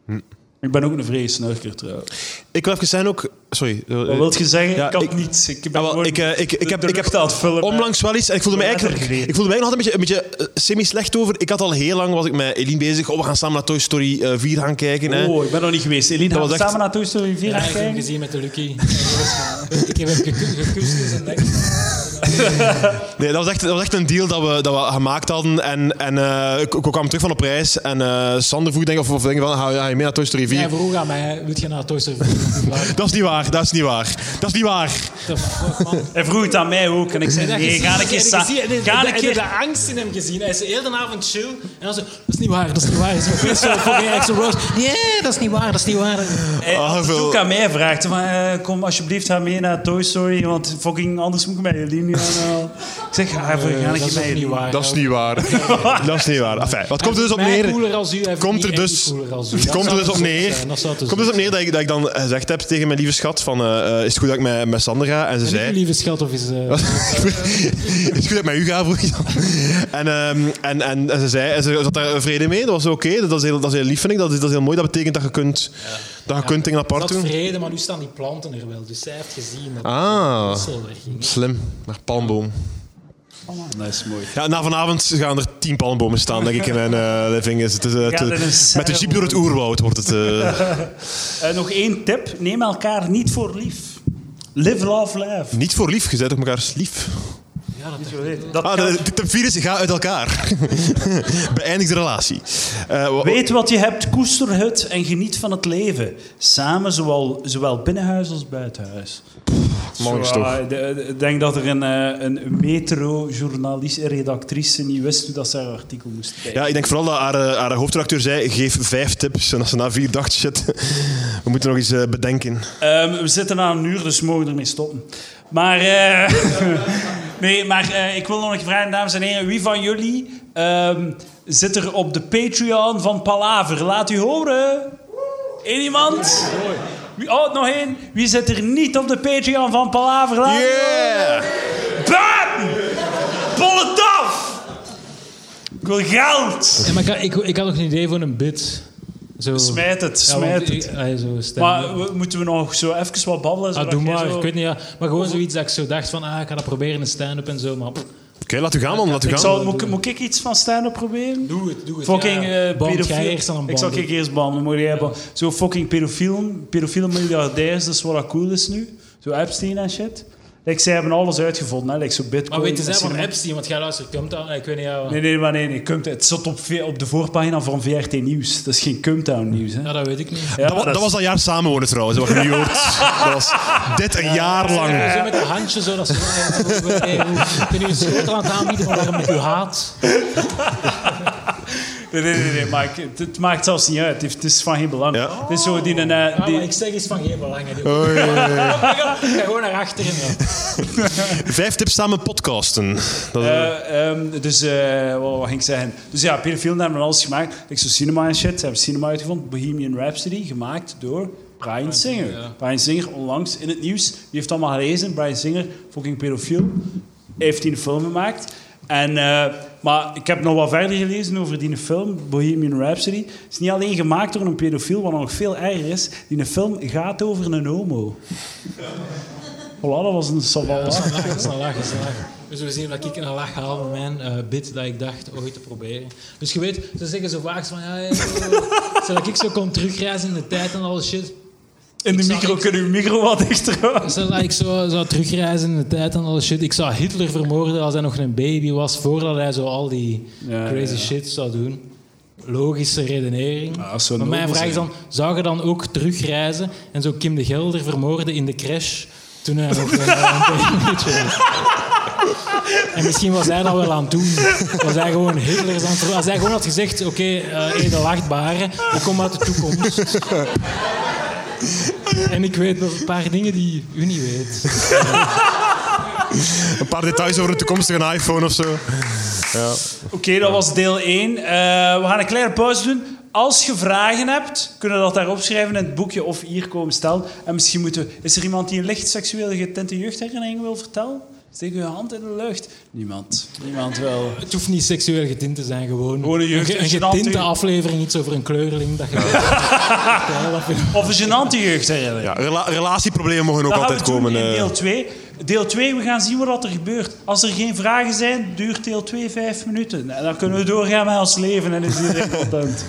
S2: Hm.
S6: Ik ben ook een vrees snurker trouwens.
S2: Ik wil even zijn ook. Sorry. eh,
S6: Wat wil je zeggen?
S2: ja,
S6: ik had
S2: ik-
S6: niets. Ik ben
S2: Ja, wel,
S6: gewoon
S2: ik, eh, ik, ik,
S6: de-
S2: heb,
S6: de
S2: ik
S6: lucht
S2: heb
S6: aan het vullen. met-
S2: onlangs wel iets. en Ik voelde me eigenlijk,
S6: Letterlijk.
S2: ik voelde mij nog altijd een beetje, een beetje eh, semi-slecht over. Ik had al heel lang was ik met Eline bezig. Oh, we gaan samen naar Toy Story eh, 4 gaan kijken. Hè.
S6: Oh, ik ben nog niet geweest. Eline,
S2: Dat
S6: gaan we
S2: was echt-
S6: samen naar Toy Story 4
S3: Ja,
S6: gaan
S3: ik heb hem
S6: kijken?
S3: gezien met de Lucky. Ik heb hem geku- gekust dus in zijn nek.
S2: Nee, dat was, echt, dat was echt een deal dat we, dat we gemaakt hadden. En, en eh, ik, ik kwam terug van op reis. En eh, Sander vroeg, denk ik, of, of denk ik van, ga je ga je mee naar Toy Story 4?
S3: Jij vroeg aan mij, wil je naar Toy Story 4? What
S2: Dat is niet waar, dat is niet waar. Dat is niet waar.
S3: the fuck, man?
S6: Hij vroeg het aan mij ook en ik zei, nee, ga een keer
S3: Heb je
S6: samen.
S3: gezien? Heb je-
S6: Ga een
S3: heb je
S6: keer...
S3: de angst in hem gezien. Hij is de hele avond chill. En dan zo, dat is niet waar, dat is niet waar. Hij is nog best wel voor mij, zo roos. Nee, dat is niet waar, dat is niet waar.
S6: Hij
S2: Ah,
S6: had het
S2: veel-
S6: ook aan Eh, mij gevraagd. Van, eh, kom alsjeblieft, ga mee naar Toy Story, want fucking anders moet ik met Eline gaan. eh. ik zeg, ga even, ga ik
S3: Eh, dat
S6: niet
S3: is
S6: met
S3: ook niet
S6: Eline.
S3: waar.
S2: Dat is niet waar. Dat is niet waar. Enfin, wat komt er dus op
S3: Mij
S2: neer?
S3: cooler als u, hij vindt
S2: Komt
S3: niet
S2: er
S3: echt
S2: dus,
S3: cooler als u. Dat
S2: komt er
S3: zou
S2: dus
S3: te
S2: op
S3: zot
S2: neer,
S3: zijn, dat zou te
S2: komt er dus
S3: zot
S2: op neer dat, ik, dat ik dan gezegd heb tegen mijn lieve schat van eh, eh, is het goed dat ik met, met Sander ga? En ze
S3: zijn. Uw
S2: zei
S3: lieve schat of is... eh,
S2: is het goed dat ik met u ga? Vroeg ik dan. En, ehm, en, en, en ze zei en ze had daar vrede mee. Dat was oké. Dat, is heel- dat is heel lief vind ik. Dat is, dat is heel mooi. Dat betekent dat je kunt, dat je kunt dingen
S3: dat
S2: apart
S3: had
S2: doen.
S3: vrede, maar nu staan die planten er wel. Dus zij heeft gezien dat
S2: Ah,
S3: Russell wegging.
S2: slim. Naar palmboom.
S6: Dat is mooi.
S2: Ja, na vanavond gaan er tien palmbomen staan, denk ik, in mijn eh, living. Is het, is het,
S6: Ja,
S2: eh,
S6: dat is
S2: met de
S6: serre
S2: jeep door het oerwoud wordt het... eh,
S6: Eh, nog één tip. Neem elkaar niet voor lief. Live, love, laugh.
S2: Niet voor lief, je bent op elkaar lief.
S6: Dat
S2: Ah,
S6: kan-
S2: de, de tip 4 is, ga uit elkaar. Beëindig de relatie. Eh, wa-
S6: Weet wat je hebt, koester het en geniet van het leven. Samen, zowel, zowel binnenhuis als buitenhuis.
S2: man, is
S6: Zo,
S2: toch.
S6: eh, de- de- Ik denk dat er een, eh, een metro-journalist-redactrice niet wist hoe dat ze haar artikel moest schrijven.
S2: Ja, ik denk vooral dat haar, eh, haar hoofdredacteur zei, geef vijf tips. En als ze na vier dacht, shit, we moeten nog eens eh, bedenken.
S6: Ehm, we zitten aan een uur, dus we mogen ermee stoppen. Maar, eh, nee, maar eh, ik wil nog vragen, dames en heren. Wie van jullie ehm, zit er op de Patreon van Palaver? Laat u horen. Eén iemand? Wie, oh, nog één. Wie zit er niet op de Patreon van Palaver? Laat u
S2: Yeah!
S6: horen. Bam! Bolletaf! Ik wil geld!
S3: Ja, maar ik, had- ik, ik had nog een idee voor een bit. Zo.
S6: Smijt het,
S3: Ja, want
S6: smijt
S3: ik-
S6: het.
S3: ah, zo stem-
S6: Maar we- moeten we nog zo even wat babbelen?
S3: Ah,
S6: zodat
S3: doe
S6: jij
S3: maar,
S6: zo-
S3: ik weet niet. Ja. Maar gewoon zoiets dat ik zo dacht van, ah, ik ga dat proberen in stand-up en zo. Maar pff,
S2: laat u gaan, man. Laat u
S6: Ik
S2: gaan.
S6: zal, moet, ik- moet ik iets van stand-up proberen?
S3: doe het, doe het.
S6: Fucking
S3: ja.
S6: eh,
S3: Band,
S6: pedofiel.
S3: jij eerst aan een
S6: ik zal
S3: band.
S6: ik eerst banden. Moet jij banden. Zo fucking pedofiel, pedofiele miljardairs, dat is wat dat cool is nu. Zo Epstein en shit. Like, zij hebben alles uitgevonden, hè. Like, zo bitcoin.
S3: Maar weten Ah,
S6: en
S3: zij van
S6: cinema-
S3: Epstein? Want jij luistert, komt aan. Ik weet niet, ja.
S6: Nee, nee, maar nee, nee. Cumtown. Het zat op, ve- op de voorpagina van VRT Nieuws. Dat is geen Cumtown Nieuws, hè.
S3: Ja, dat weet ik niet.
S6: Ja,
S2: dat, wa-
S6: dat
S2: dat
S6: is-
S2: was dat jaar samenwonen trouwens, wat je nu hoort. Dat was dit een jaar lang.
S3: Zo met een handje zo. Dat ze, eh, eh, hoe- kun je een schotel aan het aanbieden van waarom ik u haat?
S6: Nee, nee, nee, nee, maar ik- het, het maakt zelfs niet uit. Het is van geen belang.
S2: Ja.
S6: Het is zo die... een, eh,
S3: Ah,
S6: die
S3: maar ik zeg iets van geen belang. hè, die-
S2: Oh, ja, ja, ja.
S3: Ga gewoon naar achteren. ja.
S2: Vijf tips samen podcasten. Dat,
S6: Eh, ehm, dus, eh, wat, wat ging ik zeggen? Dus ja, pedofielen hebben alles gemaakt. Ik zo cinema en shit. Ze hebben cinema uitgevonden. Bohemian Rhapsody, gemaakt door Brian Singer.
S3: ja.
S6: Brian Singer, onlangs in het nieuws. Wie heeft het allemaal gelezen? Brian Singer, fucking pedofiel. Heeft die een film gemaakt. En, eh, maar ik heb nog wat verder gelezen over die film, Bohemian Rhapsody. Het is niet alleen gemaakt door een pedofiel, wat nog veel erger is. Die film gaat over een homo. Voilà, dat was een saval.
S3: Dat is een lach, dat is een lach, dat is een lach. Dus we zien dat ik een lach haal met mijn eh, bit dat ik dacht ooit te proberen. Dus je weet, ze zeggen zo vaak van ja, eh, zodat ik zo kon terugreizen in de tijd en al shit.
S6: In de
S3: Ik zou-
S6: micro
S3: ik-
S6: kunnen uw micro wat dichter houden.
S3: Zodat ik zo zou terugreizen in de tijd en al shit. Ik zou Hitler vermoorden als hij nog een baby was, voordat hij zo al die
S6: Ja,
S3: crazy
S6: ja.
S3: shit zou doen. Logische redenering.
S6: Ja, dat zou
S3: maar mijn
S6: nobel
S3: vraag is dan, zou je dan ook terugreizen en zo Kim de Gelder vermoorden in de crash toen hij nog eh, een babytje was? En misschien was hij dat wel aan het doen. Was hij gewoon Hitler aan het ver- Als hij gewoon had gezegd, oké, eh edelachtbare, we komen uit de toekomst. En ik weet nog een paar dingen die u niet weet.
S2: een paar details over een toekomstige iPhone of zo.
S6: Oké, dat was deel 1. we gaan een kleine pauze doen. Als je vragen hebt, kunnen we dat daar opschrijven in het boekje of hier komen stellen. En misschien moeten we... Is er iemand die een licht seksueel getinte jeugdherinnering wil vertellen? Steek uw hand in de lucht. Niemand. Niemand wel.
S3: Het hoeft niet seksueel getint te zijn, gewoon,
S6: Gewoon een jeugd-
S3: ge- een
S6: genante-
S3: getinte aflevering, iets over een kleurling. Dat je Ja, dat vind ik-
S6: Of een gênante jeugdherinnering.
S2: Ja, rela- relatieproblemen mogen ook
S6: Dat gaan
S2: altijd
S6: we doen
S2: komen.
S6: in
S2: eh.
S6: deel 2. Deel 2, we gaan zien wat er gebeurt. Als er geen vragen zijn, duurt deel 2 vijf minuten. En dan kunnen we doorgaan met ons leven en is iedereen content.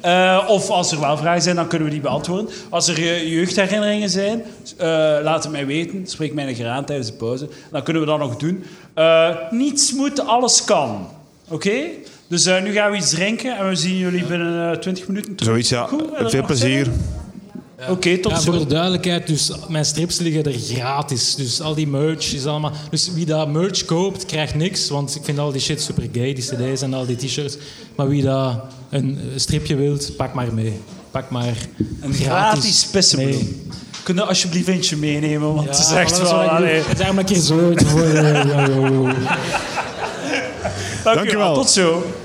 S6: Eh, of als er wel vragen zijn, dan kunnen we die beantwoorden. Als er eh, jeugdherinneringen zijn, eh, laat het mij weten. Spreek mij een keer aan tijdens de pauze. Dan kunnen we dat nog doen. Eh, niets moet, alles kan. Oké? Dus eh, nu gaan we iets drinken en we zien jullie binnen eh, 20 minuten terug.
S2: Zoiets, ja.
S6: Goed, en dan
S2: Veel
S6: nog
S2: plezier.
S6: zeggen? Oké, tot
S3: Ja,
S6: zo.
S3: voor de duidelijkheid, dus mijn strips liggen er gratis. Dus al die merch is allemaal... Dus wie dat merch koopt, krijgt niks. Want ik vind al die shit super gay, die cd's en al die t-shirts. Maar wie dat een eh, stripje wilt, pak maar mee. Pak maar
S6: Een
S3: gratis
S6: gratis pissenbloem.
S3: mee.
S6: Kunnen alsjeblieft eentje meenemen, want het is echt
S3: voilà, dat
S6: wel...
S3: wat ik doe.
S6: Allee.
S3: Het is eigenlijk een keer zo. het is voor- ja, ja, ja, ja.
S6: Dank u wel.
S2: wel.
S6: Tot zo.